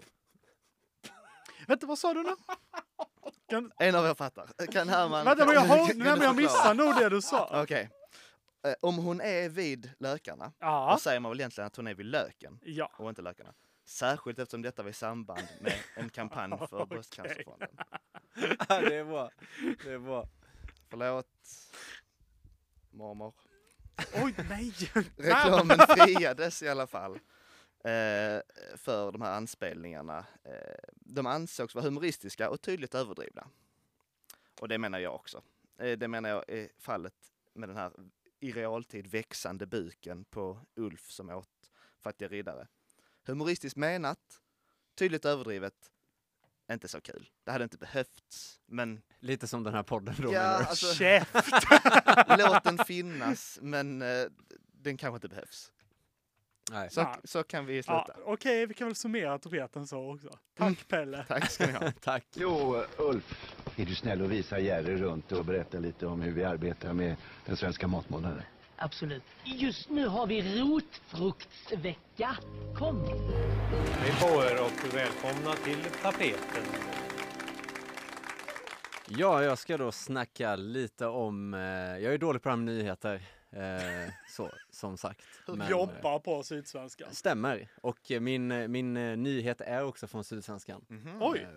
D: Vänta, vad sa du nu? Kan,
J: En av er fattar. Kan Herman...
D: vänta, men jag,
J: kan-
D: har,
J: kan
D: nej,
J: du
D: men jag
J: förklara?
D: missade nog det du sa.
J: Okej. Eh, Om hon är vid lökarna, då
D: Ja.
J: säger man väl egentligen att hon är vid löken
D: Ja.
J: och inte lökarna. Särskilt eftersom detta var i samband med en kampanj för
D: Okej.
J: Bröstcancerfonden.
B: Ja, det är bra. Det är bra.
J: Förlåt, mormor.
D: Oj, nej.
J: reklamen friades i alla fall eh, för de här anspelningarna. Eh, de ansågs vara humoristiska och tydligt överdrivna. Och det menar jag också. Eh, det menar jag är fallet med den här i realtid växande buken på Ulf som åt Fattiga riddare. Humoristiskt menat, tydligt överdrivet, inte så kul. Det hade inte behövts, men
B: Lite som den här podden då.
J: Ja,
B: menar du?
J: alltså-
D: Chef.
J: låt den finnas, men eh, den kanske inte behövs.
B: Nej.
J: Så,
D: Ja.
J: så kan vi
D: Ja,
J: sluta.
D: Okej, vi kan väl summera tapeten så också. Tack Pelle.
J: Tack ska ni ha.
B: Mm. Tack.
K: Jo, Ulf, är du snäll och visa Jerry runt och berätta lite om hur vi arbetar med den svenska matmånaden?
L: Absolut. Just nu har vi rotfruktsvecka. Kom!
I: Hej på er och välkomna till tapeten.
B: Ja, jag ska då snacka lite om, eh, jag är dålig på det här med nyheter, eh, så, som sagt. Men, eh,
D: Jobbar på Sydsvenskan.
B: Stämmer, och eh, min, eh, min eh, nyhet är också från Sydsvenskan.
D: Oj.
B: Eh,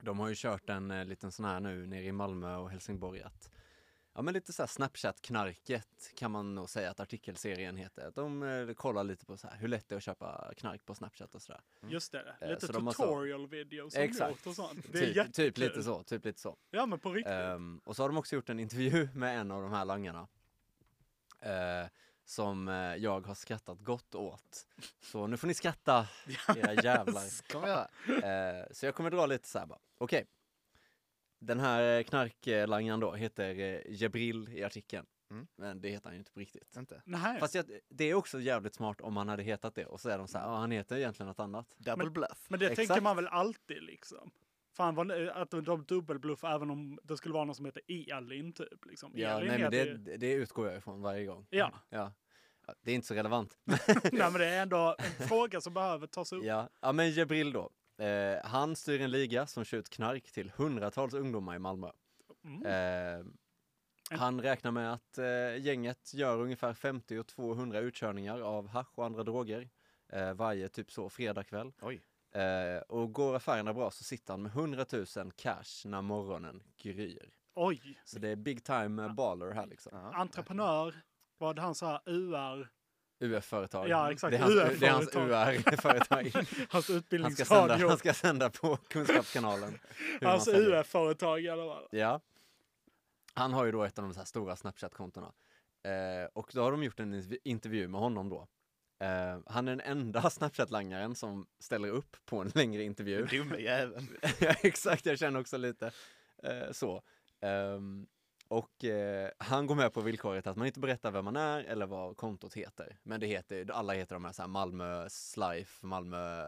B: De har ju kört en eh, liten sån här nu nere i Malmö och Helsingborg att Ja men lite såhär Snapchat-knarket kan man nog säga att artikelserien heter. De eh, kollar lite på så här, hur lätt det är att köpa knark på Snapchat och sådär.
D: Just det,
B: Eh,
D: lite
B: så de har så-
D: tutorial videos som gjort och sånt. Det är
B: typ, typ lite
D: jättekul.
B: så, typ lite så.
D: Ja, men på riktigt.
B: Ehm, och så har de också gjort en intervju med en av de här langarna. eh, som eh, jag har skrattat gott åt. Så nu får ni skratta, era jävlar.
J: Kan vi göra?
B: Eh, så jag kommer dra lite så här bara. Okej. Den här eh, knarklangaren då heter eh, Jabril i artikeln.
J: Mm.
B: Men det heter han ju inte på riktigt.
J: Inte?
D: Nej.
B: Fast jag, det är också jävligt smart om han hade hetat det och så är de så här, ja han heter egentligen något annat.
J: Double
D: Men-
J: bluff.
D: Men det tänker
B: Exakt.
D: man väl alltid liksom. Fan vad, att de dubbelbluffar även om det skulle vara någon som heter Elin typ. Liksom.
B: Ja,
D: Elin
B: nej, men
D: heter
B: det,
D: ju-
B: det utgår jag ifrån varje gång.
D: Ja.
B: ja. Ja, Det är inte så relevant.
D: nej, men det är ändå en fråga som behöver tas upp.
B: Ja, ja men Jabril då. Eh, han styr en liga som kör ut knark till hundratals ungdomar i Malmö.
D: Mm.
B: Eh, han räknar med att eh, gänget gör ungefär 50 och 200 utkörningar av hasch och andra droger eh, varje typ så fredagkväll.
J: Oj.
B: Eh, och går affärerna bra så sitter han med 100 000 cash när morgonen gryr.
D: Oj,
B: Så det är big time eh, baller här liksom.
J: Ja.
D: entreprenör, vad han sa, UR,
B: UF-företag.
D: Ja, exakt.
B: Det är hans,
D: UF-företag.
B: det är hans UR-företag.
D: hans
B: Han ska, sända,
D: utbildningsradio,
B: han ska sända på Kunskapskanalen. hur man
D: hans
B: säljer.
D: UF-företag i alla fall.
B: Ja. Han har ju då ett av de så här stora Snapchat-kontona. Eh, och då har de gjort en interv- intervju med honom då. Eh, han är den enda Snapchat-langaren som ställer upp på en längre intervju.
J: Den dumme jäveln.
B: ja, exakt, jag känner också lite eh, så. Ehm, och eh, han går med på villkoret att man inte berättar vem man är eller vad kontot heter. Men det heter, alla heter de här, så här Malmö Slife, Malmö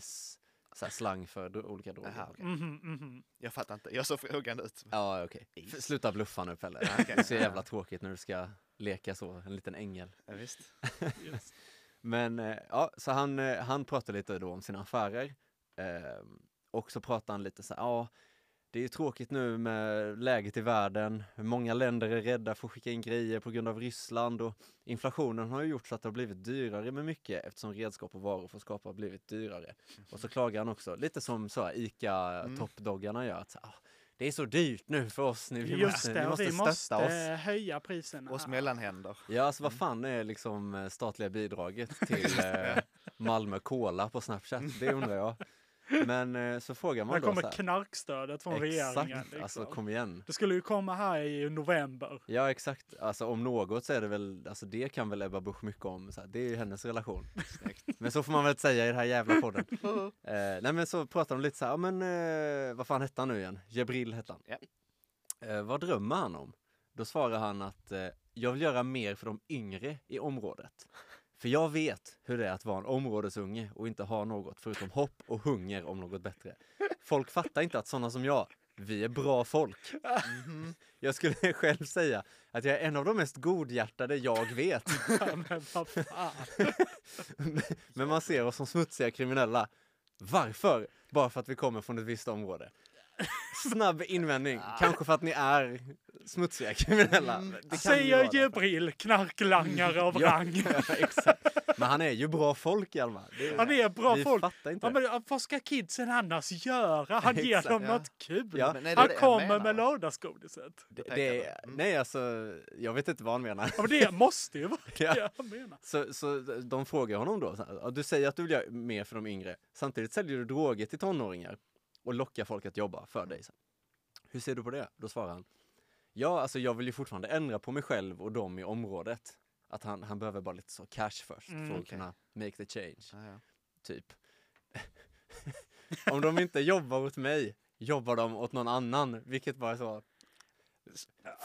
B: Ice, så här slang för dro- olika droger.
J: Jaha, okej.
D: Mhm, mhm.
J: Jag fattar inte. Jag såg frågande ut.
B: Ja, okej. F- Sluta bluffa nu Pelle.
J: Mm. Ja, okej.
B: Det är så jävla tråkigt när du ska leka så, en liten ängel.
J: Ja, visst.
D: Yes.
B: Men eh, ja, så han, eh, han pratar lite då om sina affärer. Ehm, och så pratar han lite så här, ja, det är ju tråkigt nu med läget i världen. Många länder är rädda för att skicka in grejer på grund av Ryssland och inflationen har ju gjort så att det har blivit dyrare med mycket eftersom redskap och varor för att skapa har blivit dyrare. Och så klagar han också, lite som så här
D: Mm.
B: ICA-toppdoggarna gör, att så här, "Ah, det är så dyrt nu för oss, ni, vi,
D: Just
B: måste,
D: det,
B: ni måste
D: vi
B: stötta
D: måste
B: oss.
D: höja priserna.
J: Oss mellanhänder.
B: Ja, alltså
D: Mm.
B: vad fan är liksom eh, statliga bidraget till eh, Malmö Cola på Snapchat? Det undrar jag. Men eh, så frågar man
D: När
B: då så
D: kommer
B: här,
D: knarkstödet från regeringen?
B: Exakt,
D: Liksom.
B: alltså kom igen.
D: Det skulle ju komma här i november.
B: Ja, exakt. Alltså om något så är det väl, alltså det kan väl Ebba Busch mycket om. Så här, det är ju hennes relation. Men så får man väl inte säga i den här jävla podden. eh, nej men så pratar de lite så här, ja men eh, vad fan hette han nu igen? Jabril hette han.
J: Ja.
B: Eh, vad drömmer han om? Då svarar han att eh, jag vill göra mer för de yngre i området. För jag vet hur det är att vara en områdesunge och inte ha något förutom hopp och hunger om något bättre. Folk fattar inte att sådana som jag, vi är bra folk. Jag skulle själv säga att jag är en av de mest godhjärtade jag vet.
D: Ja, men vad fan.
B: Men man ser oss som smutsiga kriminella. Varför? Bara för att vi kommer från ett visst område. Snabb invändning. Kanske för att ni är smutsiga kriminella. Det kan ju vara
D: Säger
B: det.
D: Jibril, knarklangare av
B: Ja,
D: rang.
B: ja, exakt. Men han är ju bra folk Hjalmar. Det
D: Han är bra
B: vi
D: folk.
B: fattar inte
D: Ja,
B: det.
D: men vad ska kidsen annars göra? Han ger
B: Exakt,
D: dem
J: ja.
D: något kul.
B: Ja.
J: Men är det
D: han
J: det jag
D: kommer
J: menar?
D: med lördagsgodiset.
B: det,
J: tänker
B: det
J: jag.
B: är, nej alltså, jag vet inte vad han menar.
D: Ja, men det måste ju vara
B: Ja.
D: det han menar.
B: Så, så de frågar honom då, så här, "Ja, du säger att du vill göra mer för de yngre, samtidigt säljer du droger till tonåringar och lockar folk att jobba för dig. Så här, Hur ser du på det? Då svarar han, ja alltså jag vill ju fortfarande ändra på mig själv och dem i området. Att han, han behöver bara lite så cash först
D: Mm,
B: för att
J: okej.
B: kunna make the change,
J: Ja, ja.
B: typ. Om de inte jobbar åt mig, jobbar de åt någon annan, vilket bara är så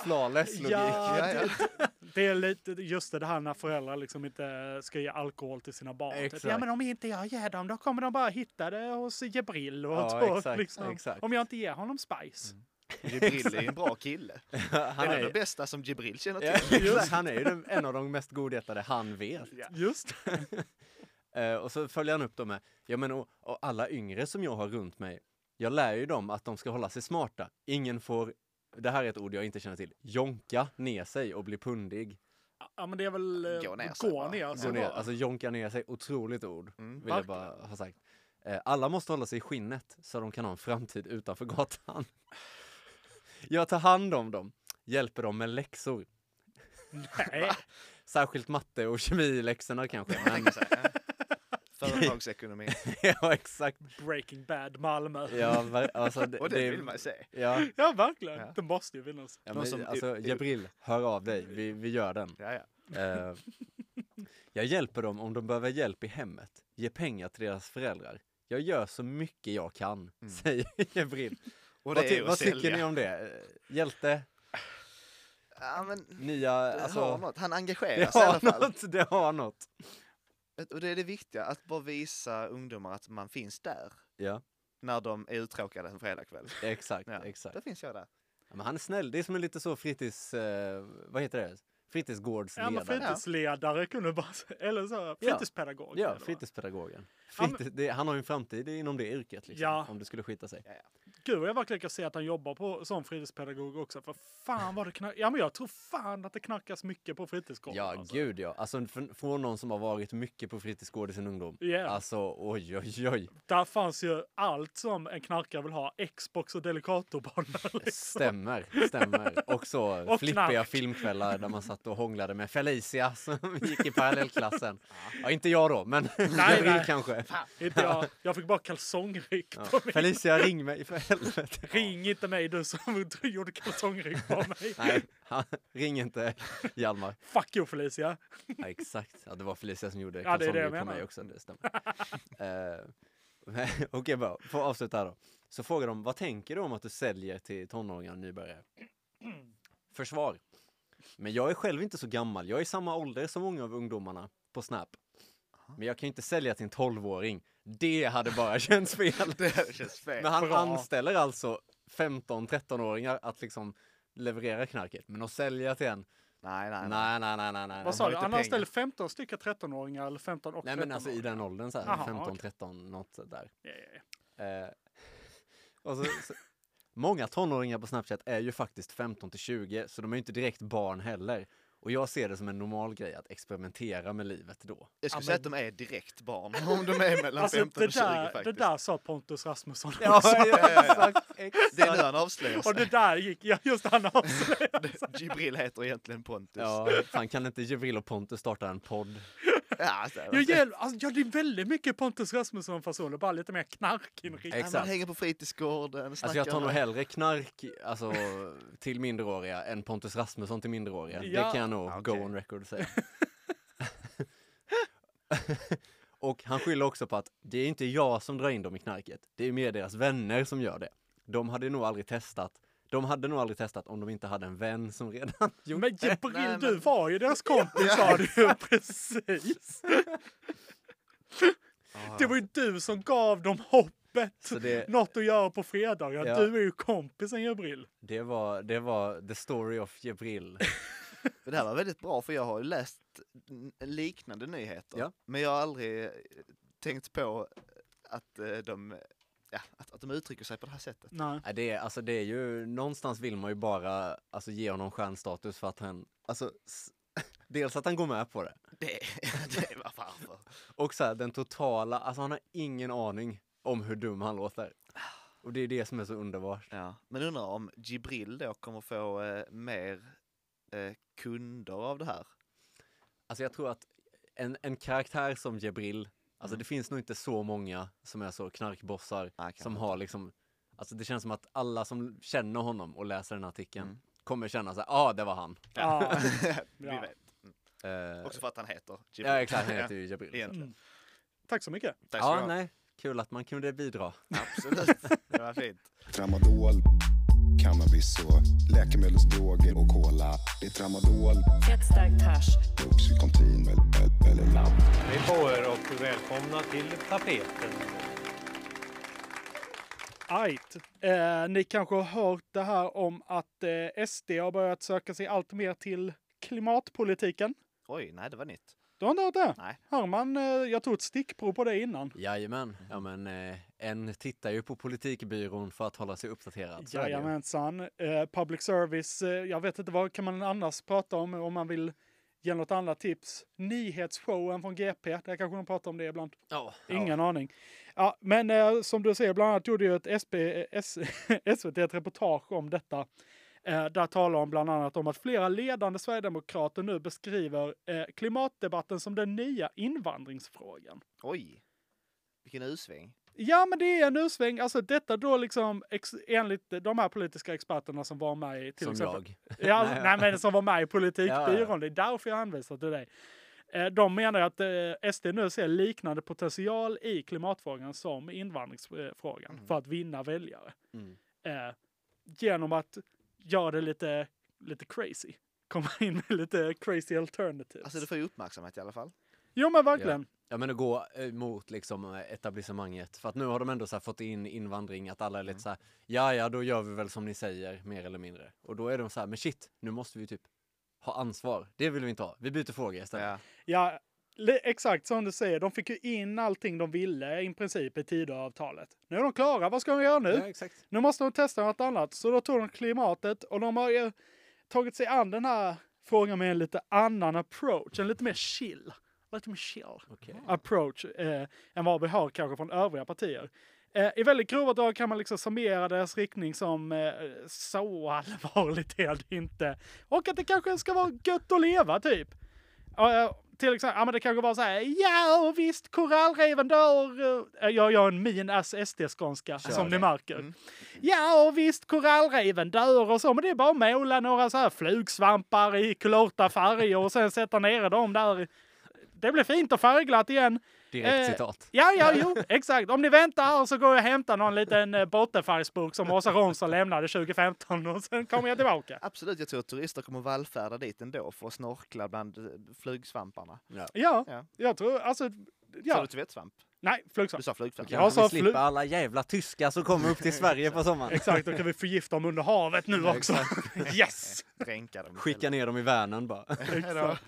B: flawless logik.
D: Ja,
J: Ja, ja.
D: Det är lite just det här när föräldrar liksom inte ska ge alkohol till sina barn. Typ,
B: Exakt.
D: Ja, men om inte jag ger dem, då kommer de bara hitta det hos Jebril och
B: Ja,
D: så.
B: exakt,
D: liksom.
B: exakt. Mm.
D: Om jag inte ger honom spice.
J: Jibril är ju en bra kille.
B: han
J: en av
B: är-
J: de bästa som Jibril känner
B: Ja,
J: till.
B: just, han är ju den, en av de mest godhjärtade han vet.
D: Just
B: Eh, och så följer han upp dem med, ja men och, och alla yngre som jag har runt mig, jag lär ju dem att de ska hålla sig smarta. Ingen får, det här är ett ord jag inte känner till, jonka ner sig och bli pundig.
D: Ja, men det är väl eh, gå ner sig.
B: Gå ner,
D: bara.
B: alltså jonka ner sig, otroligt ord. Vill jag
D: Verkligen.
B: bara ha sagt. Eh, alla måste hålla sig i skinnet så de kan ha en framtid utanför gatan. jag tar hand om dem, hjälper dem med läxor.
D: Nej.
B: Särskilt matte och kemiläxorna kanske. Men...
J: Företagsekonomi.
B: ja, exakt.
D: Breaking Bad Malmö.
B: Ja, ver- alltså, det-
J: Och det
B: det-
J: vill man ju typ- se.
B: Ja.
D: ja, verkligen. Det måste ju finnas.
B: Ja, men, alltså, Jabril, hör av dig. Vi, vi gör den. Eh, jag hjälper dem om de behöver hjälp i hemmet. Ge pengar till deras föräldrar. Jag gör så mycket jag kan, säger Jabril.
J: Mm. Och
B: Vad,
J: det
B: ty-
J: är att
B: vad tycker
J: sälja.
B: ni om det? Eh, Hjälte?
J: Ja, men
B: Nya,
J: det
B: alltså...
J: har något. Han engagerar
B: det
J: sig i alla
B: har
J: fall.
B: något, det har något.
J: Och det är det viktiga, att bara visa ungdomar att man finns där.
B: Ja,
J: När de är uttråkade en fredagkväll.
B: exakt,
J: Ja,
B: exakt.
J: Då finns jag där.
B: Ja, men han är snäll. Det är som en lite så fritids... Eh, vad heter det?
D: Ja,
B: Fritidsgårdsledare.
D: men fritidsledare kunde bara säga. Eller så här,
B: Ja.
D: fritidspedagog.
B: Ja,
D: eller vad?
B: fritidspedagogen.
D: Ja, men-
B: Fritids, det, han har ju en framtid inom det yrket, liksom,
D: Ja.
B: om det skulle skita sig.
D: Gud vad jag verkligen kan se att han jobbar på, som fritidspedagog också. För fan vad det knark... Ja men jag tror fan att det knarkas mycket på fritidsgården.
B: Ja, gud ja. Alltså, fr- från någon som har varit mycket på fritidsgård i sin ungdom.
D: Ja.
B: Alltså, oj, oj, oj.
D: Där fanns ju allt som en knarkare vill ha. Xbox och Delicatobanor. Liksom.
B: Stämmer, stämmer. Och så
D: Och
B: flippiga
D: knark.
B: filmkvällar där man satt och hånglade med Felicia som gick i parallellklassen. Ja, inte jag då, men jag vill kanske.
D: Inte jag. Jag fick bara kalsongryck
B: Ja.
D: på mig.
B: Felicia, ring mig för helvete.
D: Ring inte mig du som gjorde kalsongryck på mig.
B: Nej, han, ring inte Hjalmar.
D: Fuck you Felicia.
B: Ja, exakt. Ja, det var Felicia som gjorde
D: Ja, det är
B: kalsonger
D: det jag
B: på
D: menar.
B: mig också. Det stämmer. Eh, men- Okej, bra. Får avsluta här då. Så frågar de, vad tänker du om att du säljer till tonåringar och nybörjare? Försvar. Men jag är själv inte så gammal. Jag är i samma ålder som många av ungdomarna på Snap. Men jag kan ju inte sälja till en 12-åring. Det hade bara känts fel.
J: Det känns fel.
B: Men han
J: Bra.
B: anställer alltså 15-13-åringar att liksom leverera knarket. Men att sälja till en...
J: Nej, nej,
B: nej. nej, nej, nej, nej.
D: Vad
B: De har
D: sa du?
B: inte
D: Han
B: pengar.
D: anställde 15 stycken 13-åringar eller 15 och
B: Nej
D: 13
B: men alltså i den åldern så här,
D: Aha,
B: 15,
D: okej.
B: 13, något där.
D: Ja, ja,
B: Eh, och så, så, många tonåringar på Snapchat är ju faktiskt 15 till 20, så de är ju inte direkt barn heller. Och jag ser det som en normal grej att experimentera med livet då.
J: Jag skulle säga att de är direkt barn. Om de är mellan
D: Alltså,
J: 15
D: det
J: och 20
D: där,
J: faktiskt.
D: Det där sa Pontus Rasmusson
J: Ja,
D: också.
J: ja, ja, ja. Det är nu han avslöjar sig.
D: Och det där gick, ja just han avslöjar sig.
J: Jibril heter egentligen Pontus.
B: Ja, fan kan inte Jibril och Pontus starta en podd?
J: Ja, alltså,
D: Jag gäll, alltså, ja, det är väldigt mycket Pontus Rasmusson-fasoner, bara lite mer knarkinriktning.
B: Exakt. Man hänger
J: på fritidsgården.
B: Alltså jag tar nog hellre knark alltså, till mindreåriga än Pontus Rasmusson till mindreåriga. Det
D: Ja.
B: kan jag nog go on record säga. och han skyller också på att det är inte jag som drar in dem i knarket. Det är mer deras vänner som gör det. De hade nog aldrig testat. De hade nog aldrig testat om de inte hade en vän som redan gjort
D: Men
B: det.
D: Jibril, du var ju deras kompis sa du ju precis. Det var ju du som gav dem hoppet.
B: det-
D: Något att göra på fredagar.
B: Ja.
D: Du är ju kompisen Jibril.
B: Det var, det var the story of Jibril.
J: Det här var väldigt bra för jag har läst n- liknande nyheter.
B: Ja.
J: Men jag har aldrig eh, tänkt på att eh, de, ja, att, att de uttrycker sig på det här sättet.
D: Nej.
B: det, är, alltså det är ju, någonstans vill man ju bara alltså, ge honom stjärnstatus för att han, alltså, s- dels att han går med på det.
J: Det, det var varför.
B: Och så här, den totala, alltså han har ingen aning om hur dum han låter. Och det är det som är så underbart.
J: Ja. Men undrar om Jibril då kommer få eh, mer eh, kunder av det här.
B: Alltså jag tror att en, en karaktär som Jebril, alltså det finns nog inte så många som är så knarkbossar som har liksom, alltså det känns som att alla som känner honom och läser den här artikeln kommer känna så här, ja ah, det var han.
J: Ja. Vi
D: Ja.
J: vet.
B: Eh,
J: Också för att han heter Jibril.
B: Ja exakt, han heter ju Jebril.
J: Egentligen.
D: Tack så mycket.
J: Tack ska du
B: Ja,
J: ha.
B: nej. Kul att man kunde bidra.
J: Absolut. Det var fint.
M: Tramadol. cannabis och läkemedelsdroger och cola. Det är tramadol,
N: Ett starkt hasch.
M: oxycontin eller- eller- eller labb.
I: Hej på er och välkomna till tapeten.
D: Ajt. Eh, ni kanske har hört det här om att eh, SD har börjat söka sig allt mer till klimatpolitiken.
J: Oj, nej det var nytt.
D: Du har inte hört det?
J: Nej.
D: Hörman, eh, jag tog ett stickprov på det innan.
B: Jajamän, ja men eh, en tittar ju på politikbyrån för att hålla sig uppdaterad. Så är det ju.
D: Jajamensan. Eh, public service, eh, jag vet inte vad kan man annars prata om om man vill ge något annat tips. Nyhetsshowen från GP, där kanske de pratar om det ibland.
B: Ja,
D: Ingen aning. Ja, men eh, som du säger, bland annat gjorde ju ett SP, eh, S, SVT ett reportage om detta. Eh, där talar de bland annat om att flera ledande sverigedemokrater nu beskriver eh, klimatdebatten som den nya invandringsfrågan.
J: Oj, vilken usväng.
D: Ja, men det är en usväng. Alltså detta då liksom ex- enligt de här politiska experterna som var med i till
B: Som
D: exempel.
B: jag.
D: Ja,
B: Nej,
D: nej,
B: ja.
D: men som var med i
B: Ja,
D: politikbyrån.
B: ja.
D: Det är därför jag hänvisar till dig. Eh, De menar att eh, SD nu ser liknande potential i klimatfrågan som invandringsfrågan för att vinna väljare.
B: Mm.
D: Eh, Genom att göra det lite, lite crazy. Komma in med lite crazy alternatives.
J: Alltså det får ju uppmärksamhet i alla fall.
D: Jo men verkligen.
B: Ja. ja men att gå eh, mot liksom eh, etablissemanget. För att nu har de ändå så här fått in invandring att alla är
D: Mm.
B: lite så här, ja ja då gör vi väl som ni säger mer eller mindre. Och då är de så här, men shit, nu måste vi typ ha ansvar. Det vill vi inte ha. Vi byter fråga istället.
D: Ja, li- exakt som du säger. De fick ju in allting de ville i princip i Tidöavtalet. Nu är de klara. Vad ska de göra nu?
B: Ja, exakt.
D: Nu måste de testa något annat. Så då tog de klimatet och de har ju tagit sig an den här frågan med en lite annan approach. En lite mer chill. Lite mer chill approach eh, än vad vi har kanske från övriga partier. Eh, I väldigt grova drag kan man liksom summera deras riktning som eh, så allvarligt är det inte. Och att det kanske ska vara gött att leva typ. Eh, till exempel, ja men det kanske var så här, ja och visst korallreven dör. Eh, Jag gör en min ass SD-skånska
O: Kör
D: som ni
O: det. Mm.
D: märker. Ja och visst korallreven dör och så, men det är bara att måla några så här flugsvampar i kulörta färger och sen sätta ner dem där. Det blir fint och färgglatt igen. Eh,
B: Direkt citat.
D: Ja, ja, jo, exakt. Om ni väntar här så går jag och hämtar någon liten eh, bottenfärgsburk som Åsa Romson lämnade 2015 och sen kommer jag tillbaka.
J: Absolut, jag tror att turister kommer vallfärda dit ändå för att snorkla bland eh, flugsvamparna.
B: Ja,
D: Ja, jag tror alltså... Ja.
J: Sa du tvättsvamp?
D: Nej, flugsvamp.
J: Du sa flugsvamp.
B: Jag vi slipper alla jävla tyskar som kommer upp till Sverige på sommaren.
D: Exakt, då kan vi förgifta dem under havet nu också. Yes!
J: Dränka dem.
B: Skicka ner dem i Vänern bara.
D: Exakt.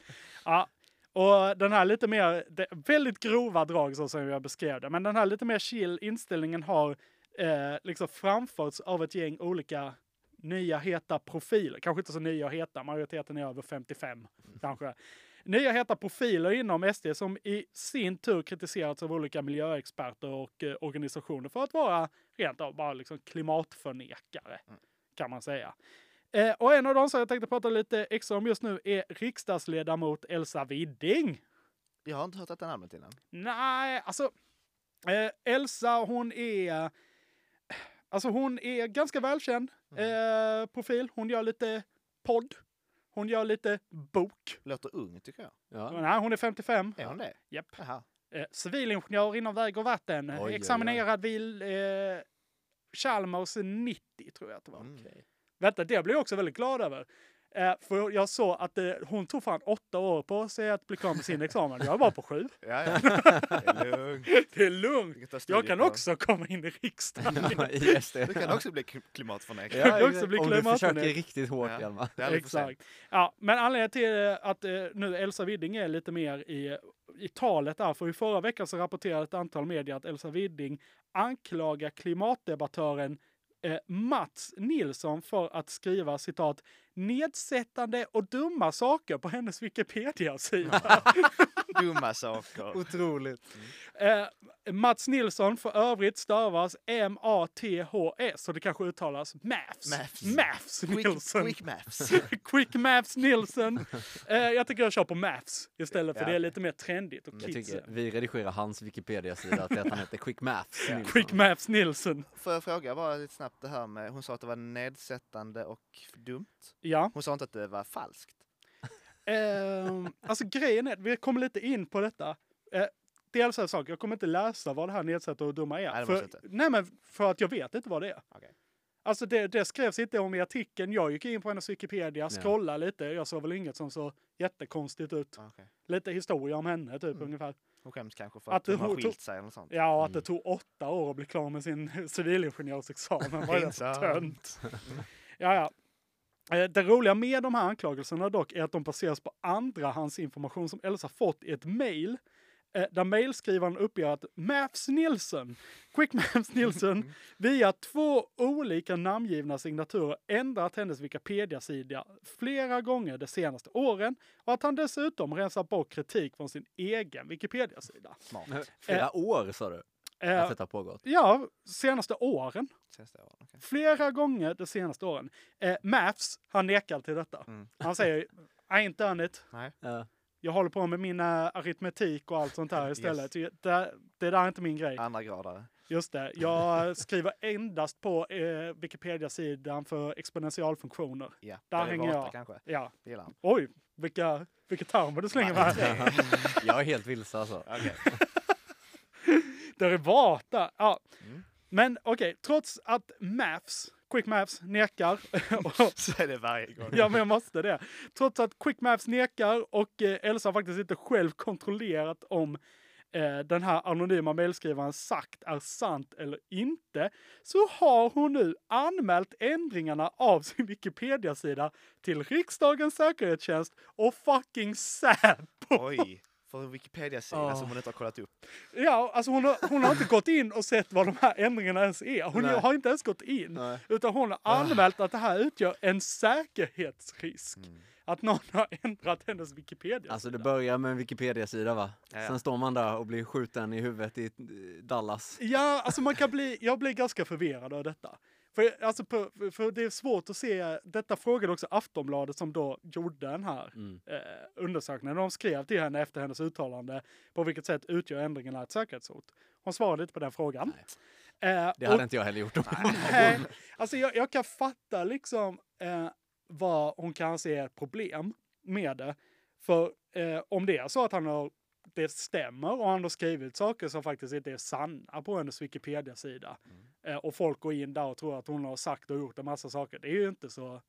D: Ja. Och den här lite mer, det- väldigt grova drag så som jag beskrev det, men den här lite mer chill inställningen har eh, liksom framförts av ett gäng olika nya heta profiler. Kanske inte så nya och heta, majoriteten är över 55 kanske. Nya heta profiler inom SD som i sin tur kritiserats av olika miljöexperter och eh, organisationer för att vara rent av bara liksom klimatförnekare kan man säga. Eh, och en av dem som jag tänkte prata lite extra om just nu är riksdagsledamot Elsa Widding.
J: Jag har inte hört detta namnet innan.
D: Nej, alltså eh, Elsa hon är alltså hon är ganska välkänd eh, profil. Hon gör lite podd. Hon gör lite bok.
J: Låter ung tycker jag.
D: Nej, hon är 55.
J: Är hon det?
D: Japp.
J: Jaha.
D: Eh, civilingenjör inom väg och vatten.
J: oj, oj.
D: Examinerad vid eh, Chalmers 90 tror jag att det
J: Mm.
D: var. Vänta, det blev jag också väldigt glad över. Eh, för jag såg att eh, hon tog fan åtta år på sig att bli klar med sin examen. Jag var på sju.
J: Ja, ja. Det är lugnt.
D: Det är lugnt.
J: Vi kan ta
D: Jag kan
J: studiepoäng.
D: också komma in i riksdagen.
J: Du kan också bli kli- klimatförnekare.
D: Jag kan också bli klimatförnekare.
J: Ja, det är aldrig för sent.
D: Exakt. Ja, men anledningen till eh, att eh, nu Elsa Widding är lite mer i, i talet där, för i förra veckan så rapporterade ett antal medier att Elsa Widding anklagar klimatdebattören eh, Mats Nilsson för att skriva citat nedsättande och dumma saker på hennes Wikipedia-sida.
J: Dumma saker.
B: Otroligt.
D: Eh, Mats Nilsson för övrigt stavas M-A-T-H-S så det kanske uttalas Maths.
J: Maths.
D: Maths
J: Quick-
D: Nilsson.
J: quick maths.
D: quick Maths Nilsson. Eh, jag tycker jag kör på Maths istället för
B: Ja.
D: det är lite mer trendigt och
B: Jag
D: kids.
B: tycker vi redigerar hans Wikipedia-sida till att han heter Quick Maths. Liksom. Nilsson.
D: Quick Maths Nilsson.
J: Får jag fråga bara lite snabbt det här med, hon sa att det var nedsättande och dumt.
D: Ja.
J: Hon sa inte att det var falskt.
D: Ehm, alltså grejen är, vi kommer lite in på detta. Eh, dels en sak, jag kommer inte läsa vad det här nedsätter och dumma är.
J: Nej, det
D: för,
J: måste
D: nej men för att jag vet inte vad det är. Alltså det, det skrevs inte om i artikeln. Jag gick in på hennes Wikipedia,
B: Ja.
D: scrollade lite. Jag såg väl inget som såg jättekonstigt ut.
J: okej.
D: Lite historia om henne typ ungefär.
J: Hon skäms kanske för att, hon har
D: hon
J: skilt
D: tog-
J: sig eller något sånt.
D: Ja, och att det tog åtta år att bli klar med sin civilingenjörsexamen. Vad är det för
J: Pinsamt.
D: tönt? Ja, ja. Eh, Det roliga med de här anklagelserna dock är att de baseras på andrahandsinformation som Elsa fått i ett mejl eh, där mejlskrivaren uppger att Mavs Nilsson, Quick Mavs Nilsson, via två olika namngivna signaturer ändrat hennes Wikipedia-sida flera gånger de senaste åren och att han dessutom rensar bort kritik från sin egen Wikipedia-sida.
B: Men Flera
D: Eh,
B: år sa du?
D: eh,
B: att detta har pågått?
D: Ja, senaste åren. Flera gånger de senaste åren. Eh, Mavs, han nekar till detta. Han säger I ain't done it.
J: Nej.
D: Jag håller på med mina aritmetik och allt sånt här istället. Det, det där är inte min grej.
J: Andra gradare.
D: Just det, jag skriver endast på eh, Wikipedia-sidan för exponentialfunktioner.
J: Ja,
D: där
J: det är
D: hänger
J: vata
D: jag.
J: kanske.
D: Ja.
J: Det gillar han.
D: Oj, vilka, vilka termer du slänger med här.
B: Jag är helt vilse alltså.
D: Derivata. Ja. Men okej, trots att Maths, Quick Maths nekar.
J: Så är det varje gång.
D: ja, men jag måste det. Trots att Quick Maths nekar och eh, Elsa har faktiskt inte själv kontrollerat om eh, den här anonyma mejlskrivaren sagt är sant eller inte, så har hon nu anmält ändringarna av sin Wikipedia-sida till riksdagens säkerhetstjänst och fucking Säpo.
J: Oj, för en Wikipedia-sida
D: Ah.
J: som hon inte har kollat upp.
D: Ja, alltså hon har, hon har inte gått in och sett vad de här ändringarna ens är. Hon
J: Nej.
D: har inte ens gått in. Utan hon
B: Ah.
D: har anmält att det här utgör en säkerhetsrisk. Att någon har ändrat hennes Wikipedia.
B: Mm. Alltså det börjar med en Wikipedia-sida va?
D: ja.
B: Sen står man där och blir skjuten i huvudet i eh, Dallas.
D: Ja, alltså man kan bli, jag blir ganska förvirrad av detta. För, alltså, på, för det är svårt att se, detta frågade också Aftonbladet som då gjorde den här
B: Mm.
D: eh, undersökningen. De skrev till henne efter hennes uttalande, på vilket sätt utgör ändringarna ett säkerhetshot? Hon svarade inte på den frågan. Eh,
B: Det hade
D: och-
B: inte jag heller gjort. om-
D: Nej, alltså jag, jag kan fatta liksom eh, vad hon kan se ett problem med det. För eh, om det är så att han har, det stämmer och han har skrivit saker som faktiskt inte är sanna på hennes Wikipedia-sida. Eh, och folk går in där och tror att hon har sagt och gjort en massa saker. Det är ju inte så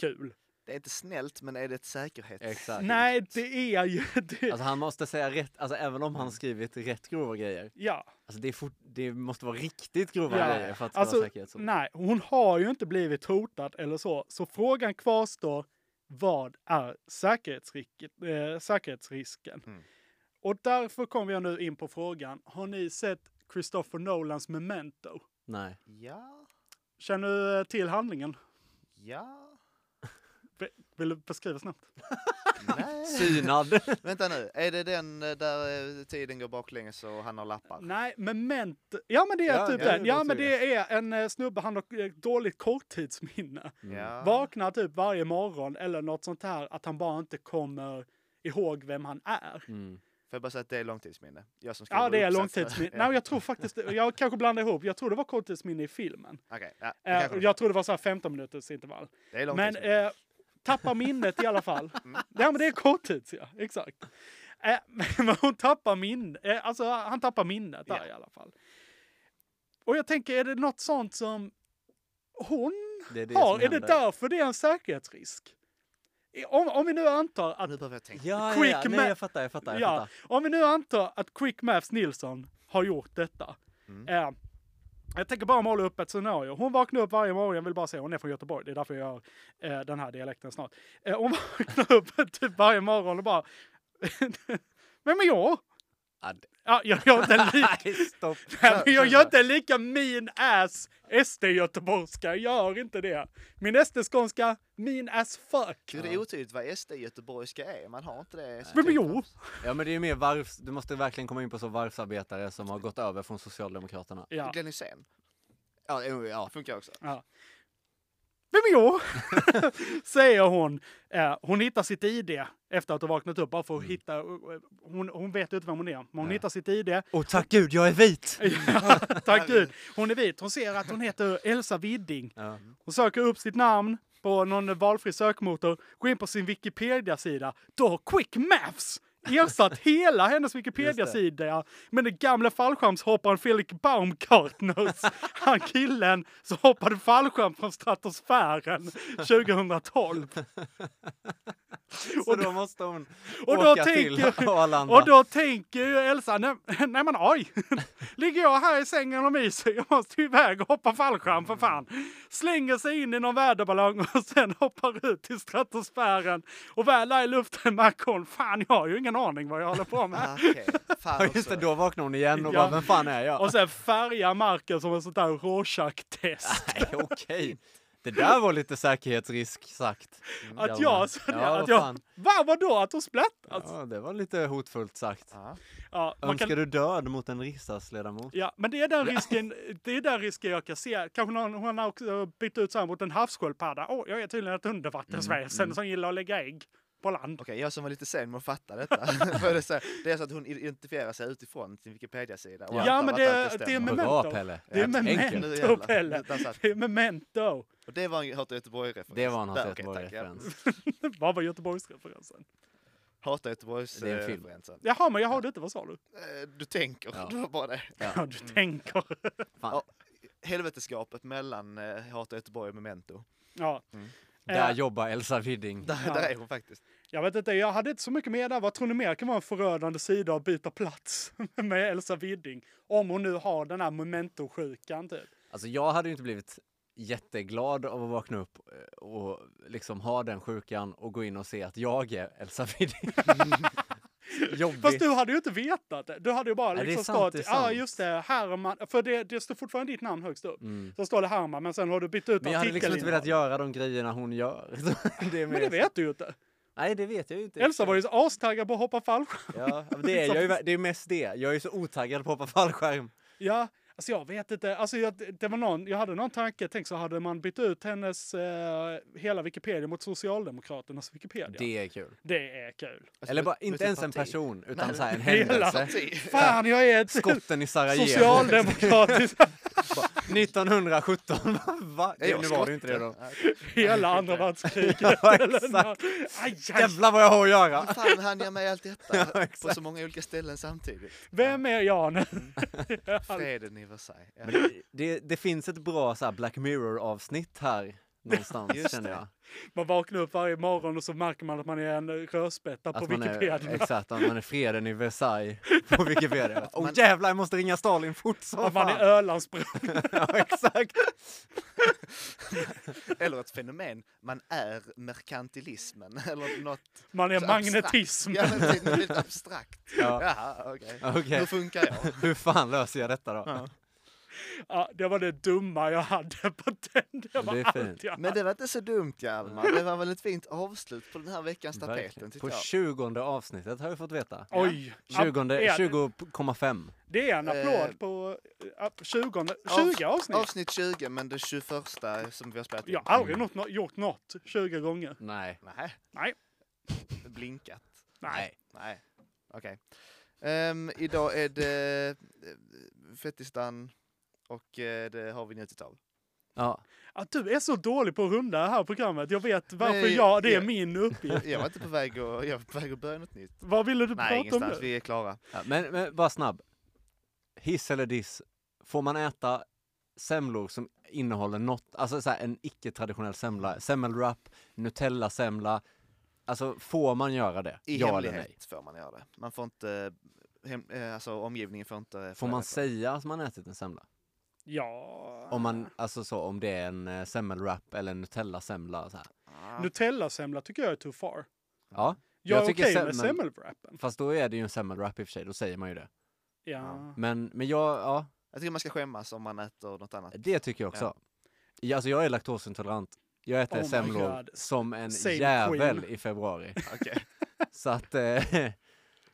D: kul.
J: Det är inte snällt, men är det ett säkerhets...
B: Exakt.
D: Nej, det är ju... Det,
B: Alltså han måste säga rätt, alltså även om
D: Mm.
B: han skrivit rätt grova grejer.
D: ja.
B: Alltså det, är fort, det måste vara riktigt grova grejer för att det ska
D: Alltså,
B: vara säkerhet.
D: Nej, hon har ju inte blivit hotad eller så. Så frågan kvarstår, vad är säkerhetsrisk, eh, säkerhetsrisken?
J: Mm.
D: Och därför kommer jag nu in på frågan, har ni sett Christopher Nolans Memento?
B: Nej.
J: Ja,
D: Känner du eh, till handlingen?
J: ja,
D: Be- Vill du beskriva snabbt?
J: nej.
B: Synad.
J: Vänta nu, är det den eh, där eh, tiden går baklänges och han har lappar?
D: Nej, Memento. Ja, men det är
J: Ja,
D: typ
J: ja,
D: den.
J: det
D: Ja,
J: låter
D: men
J: ju.
D: det är en eh, snubbe, han har eh, dåligt korttidsminne.
J: Ja.
D: Vaknar typ varje morgon eller något sånt här, att han bara inte kommer ihåg vem han är.
J: Får jag bara säga att det är långtidsminne? Jag som
D: Ja,
J: skriver
D: det är
J: uppsatser.
D: långtidsminne.
J: Ja.
D: Nej, jag tror faktiskt, jag kanske blandar ihop. Jag tror det var korttidsminne i filmen.
J: Okej, ja, det
D: Eh,
J: kanske det
D: jag tror det var så här 15 minuters intervall.
J: Det är
D: men
J: långtidsminne.
D: eh, tappar minnet i alla fall.
B: Mm.
D: Ja, men det är korttids, ja. Exakt. Eh, men hon tappar minnet. Eh, alltså, han tappar minnet där i alla fall. Och jag tänker, är det något sånt som hon
B: Det är det
D: har?
B: som
D: Är det
B: händer.
D: därför det är en säkerhetsrisk? I- Om, om vi nu antar att...
B: Ja, ja,
D: Quick
B: ja. Nej,
D: Ma-
B: jag fattar, jag fattar, jag
D: ja,
B: fattar.
D: om vi nu antar att Quick Maths Nilsson har gjort detta.
B: Mm.
D: Eh, jag tänker bara måla upp ett scenario. Hon vaknar upp varje morgon, jag vill bara säga hon är från Göteborg, det är därför jag gör eh, den här dialekten snart. Eh, hon vaknar upp typ varje morgon och bara... Vem är jag? Ja, jag gör inte
B: Nej,
D: lik...
B: stopp.
D: Typ. Nej, men jag gör inte lika min ass SD-göteborgska, jag gör inte det. Min SD-skånska, min ass fuck.
J: Gud, Det är otydligt vad SD-göteborgska är, man har inte det. eh,
D: Men,
B: Typ.
D: men jo,
B: Ja men det är ju mer varvs, du måste verkligen komma in på så varvsarbetare som har gått över från Socialdemokraterna.
D: Ja.
J: Glenn Hysén.
B: Ja, jo, ja.
J: Funkar också.
D: Ja. Vem är jag? Säger hon. Eh, hon hittar sitt ID efter att ha vaknat upp. Bara för att hitta, eh, hon, hon vet ju inte vem hon är, men hon hittar sitt ID.
B: Och tack gud, jag är vit!
D: Ja, tack gud. Hon är vit. Hon ser att hon heter Elsa Widding. Hon söker upp sitt namn på någon valfri sökmotor. Går in på sin Wikipedia-sida. Då har Quick Maths ersatt hela hennes Wikipedia-sida med den gamla fallskärmshopparen Felix Baumgartners. Han killen som hoppade fallskärm från stratosfären 2012.
B: Så och då måste hon
D: och
B: åka
D: då
B: till
D: tänker,
B: Arlanda.
D: och då tänker ju Elsa, nej, nej men oj, ligger jag här i sängen och myser, jag måste ju iväg och hoppa fallskärm för fan. Slänger sig in i någon väderballong och sen hoppar ut till stratosfären och väl är i luften märker hon, fan jag har ju ingen aning vad jag håller på
J: Ah,
D: med.
B: Ja, just det, då vaknar hon igen och
D: Ja.
B: bara, vem fan är jag?
D: Och sen färgar marken som en sån där Rorschach-test.
B: Nej, okej. Det där var lite säkerhetsrisk sagt.
D: Att
B: Hjalmar.
D: jag, så,
B: Ja,
D: att
B: vad
D: jag,
B: fan.
D: va vadå att hon splattas?
B: Ja, det var lite hotfullt sagt. Ja.
D: Ja, man
B: Önskar
D: kan-
B: du död mot en riksdagsledamot?
D: Ja, men det är den risken, det är den risken jag kan se. Kanske någon, hon har också bytt ut så här mot en havssköldpadda. Åh, jag är tydligen ett undervattensväsen
J: Mm, mm.
D: som gillar att lägga ägg på land.
J: Okej, jag som var lite sen med att fatta detta. För det, är så här, det är så att hon identifierar sig utifrån sin Wikipedia-sida. och
D: Ja,
J: antar
D: men
J: att
D: det,
J: allt
D: är- det är
J: stämmer.
D: memento. Det är
J: Nu
D: memento,
J: jävlar.
D: Pelle.
J: Utan så att-
D: Det är memento.
J: Och det var en Hata Göteborg-referens.
B: Det var en Hata
J: Där, okej, tack,
B: Göteborg-referens.
D: Ja. Vad var Göteborgsreferensen?
J: ja. Hata Göteborgs
B: Det är en
J: eh,
B: film.
J: referensen.
D: Jaha, men jag hörde inte. Vad sa du?
J: Eh, Du tänker,
B: Ja.
J: det var bara det.
B: Ja.
D: Ja,
J: Mm.
D: du tänker.
J: Ja, helveteskapet mellan eh, Hata Göteborg och Memento.
D: Ja.
J: Mm.
B: Där
D: Eh,
B: jobbar Elsa Widding.
J: Där, där är hon faktiskt.
D: Jag vet inte, jag hade inte så mycket med där. Vad tror ni mer kan vara en förödande sida att byta plats med Elsa Widding? Om hon nu har den här memento-sjukan typ.
B: Alltså jag hade ju inte blivit jätteglad av att vakna upp eh, och liksom ha den sjukan och gå in och se att jag är Elsa Widding. Jobbigt.
D: Fast du hade ju inte vetat det. Du hade ju bara
B: Nej, det är
D: liksom
B: sant,
D: stått,
B: det är
D: ja
B: sant.
D: ah, just det, Herman, för det, det står fortfarande ditt namn högst upp.
B: Mm.
D: Så står det Herman, men sen har du bytt ut
B: Men jag hade liksom inte velat
D: artikelinnehåll.
B: göra de grejerna hon gör. det är
D: Men det
B: mer-
D: vet du ju inte.
B: Nej, det vet jag ju inte.
D: Elsa var ju så astaggad på att hoppa fallskärm.
B: Ja, men det är jag ju, det är mest det. Jag är ju så otaggad på att hoppa fallskärm.
D: Ja, alltså jag vet inte. Alltså jag, det var någon, jag hade någon tanke, tänk så hade man bytt ut hennes eh, hela Wikipedia mot Socialdemokraternas Wikipedia.
B: Det är kul.
D: Det är kul.
B: Eller bara, inte ens en person, Alltså. utan
D: typ Nej.
B: så här en
D: Hela
B: händelse.
D: parti. Fan, jag är ett
B: Skotten i Sarajevo.
D: socialdemokratiskt-
B: Bara, 1917, va?
D: Är jag
B: Det, nu var det ju inte det då.
D: skotte? Hela andra världskriget.
B: Ja,
D: eller
B: exakt.
D: nå- Aj, aj.
B: Jävlar vad jag har att göra.
J: Hur fan hann jag med allt detta?
B: Ja,
J: på
B: exakt.
J: så många olika ställen samtidigt.
D: Vem är jag nu?
J: Freden i Versailles. Ja.
B: Men det, det, det finns ett bra så här Black Mirror-avsnitt här någonstans
J: Just
B: känner jag.
D: Man vaknar upp varje morgon och så märker man att man är en rödspätta på
B: Att man
D: Wikipedia.
B: är, exakt, att man är freden i Versailles på Wikipedia. Åh oh,
D: man-
B: jävlar, jag måste ringa Stalin fort som
D: Att man är
B: fan.
D: Ölandsbron.
B: ja, exakt.
J: Eller ett fenomen, man är merkantilismen. Eller något
D: Man är
J: så abstrakt.
D: magnetismen.
J: Ja, men det är lite abstrakt.
B: Ja.
J: Jaha, okej.
B: Okej.
J: Hur funkar jag?
B: Hur fan löser jag detta då?
D: Ja, det var det dumma jag hade på den. Det var allt jag hade.
J: Men det var inte så dumt Hjalmar. Det var väl ett fint avslut på den här veckans tapeten
B: Verkligen.
J: tycker
B: På
J: jag.
B: 20 avsnittet har vi fått veta.
D: Oj.
B: 20,
D: Ja,
B: 20,5.
D: Det är en applåd
J: Eh,
D: på eh, app- 20, 20
J: Av-
D: avsnitt.
J: Avsnitt 20, men det 21 som vi har spelat in.
D: Jag har aldrig nått, nå- gjort något 20 gånger.
B: Nej.
J: Nej.
D: Nej.
J: Blinkat.
D: Nej.
J: Nej. Okej. Ehm, idag är det eh, Fettisdagen och eh, det har vi njutit av.
B: Ja.
D: Att du är så dålig på att runda det här programmet. Jag vet varför
J: Nej,
D: jag, det är
J: jag-
D: min uppgift.
J: Jag var inte på väg att, jag var på väg att börja något nytt.
D: Vad ville du
J: Nej,
D: prata om
J: ingenstans.
D: nu?
J: Vi är klara.
B: Ja, men, men bara snabb. Hiss eller diss. Får man äta semlor som innehåller något, alltså så här en icke-traditionell semla, semmelwrap, Nutella-semla. Alltså får man göra det?
J: I
B: ja eller nej?
J: hemlighet får man göra det. Man får inte, hem, eh, alltså omgivningen får inte...
B: Får
J: reda
B: man
J: på.
B: säga att man ätit en semla?
D: Ja.
B: Om man, alltså så, om det är en eh, semmelwrap eller en Nutella-semla så här.
J: Ah.
D: Nutella-semla tycker jag är too far.
B: Ja.
D: Jag, är
B: tycker
D: okej med
B: semmel-
D: semmelwrappen.
B: Fast då är det ju en semmelwrap i och för sig, då säger man ju det.
D: Ja.
B: Men, men jag, ja,
J: Jag tycker man ska skämmas om man äter något annat.
B: det tycker jag också. Ja. Alltså jag är laktosintolerant. Jag äter
D: Oh my
B: semlor
D: God.
B: som en
D: Same
B: jävel
D: queen.
B: i februari.
J: Okej.
B: Så att, eh,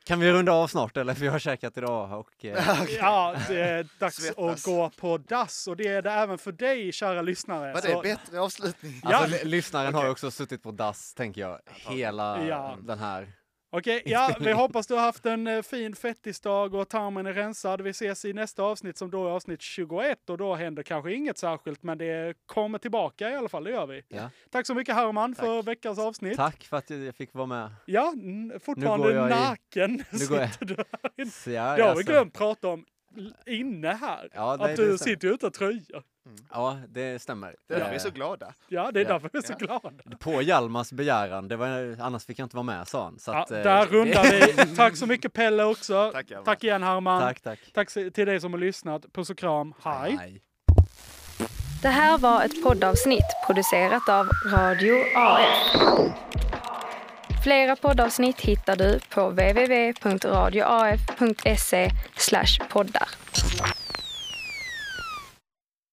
B: kan vi runda av snart eller? För jag har käkat idag och... Eh,
D: Ja, det är dags
J: Svettas.
D: att gå på dass och det är det även för dig, kära lyssnare.
J: Var det
D: Så-
J: en bättre avslutning?
D: Ja.
B: alltså, l- lyssnaren har ju också suttit på dass, tänker jag, hela
D: Ja.
B: den här
D: Okej, ja, vi hoppas du har haft en eh, fin fettisdag och tarmen är rensad. Vi ses i nästa avsnitt som då är avsnitt 21 och då händer kanske inget särskilt, men det kommer tillbaka i alla fall, det gör vi.
B: Ja.
D: Tack så mycket Herman för veckans avsnitt.
B: Tack för att jag fick vara med.
D: Ja, n- fortfarande
B: jag i-
D: naken
B: nu går jag-
D: sitter du här inne.
B: Så
D: Det
B: jag-
D: har vi
B: alltså-
D: glömt prata om l- inne här.
B: Ja, nej,
D: att
B: det
D: du
B: stämmer.
D: sitter ju utan tröja.
B: Ja, det stämmer.
D: Det är därför vi är
B: Eh,
D: så glada. Ja, det är
B: ja.
D: därför vi är så glada.
B: På Hjalmars begäran, det var, annars fick jag inte vara med sa han. Så
D: Ja,
B: att, eh, det-
D: där rundar vi. Tack så mycket Pelle också. Tack, igen Herman.
B: Tack, tack.
D: tack så- till dig som har lyssnat. Puss och kram. Hej.
A: Det här var ett poddavsnitt producerat av Radio AF. Flera poddavsnitt hittar du på www.radioaf.se E poddar.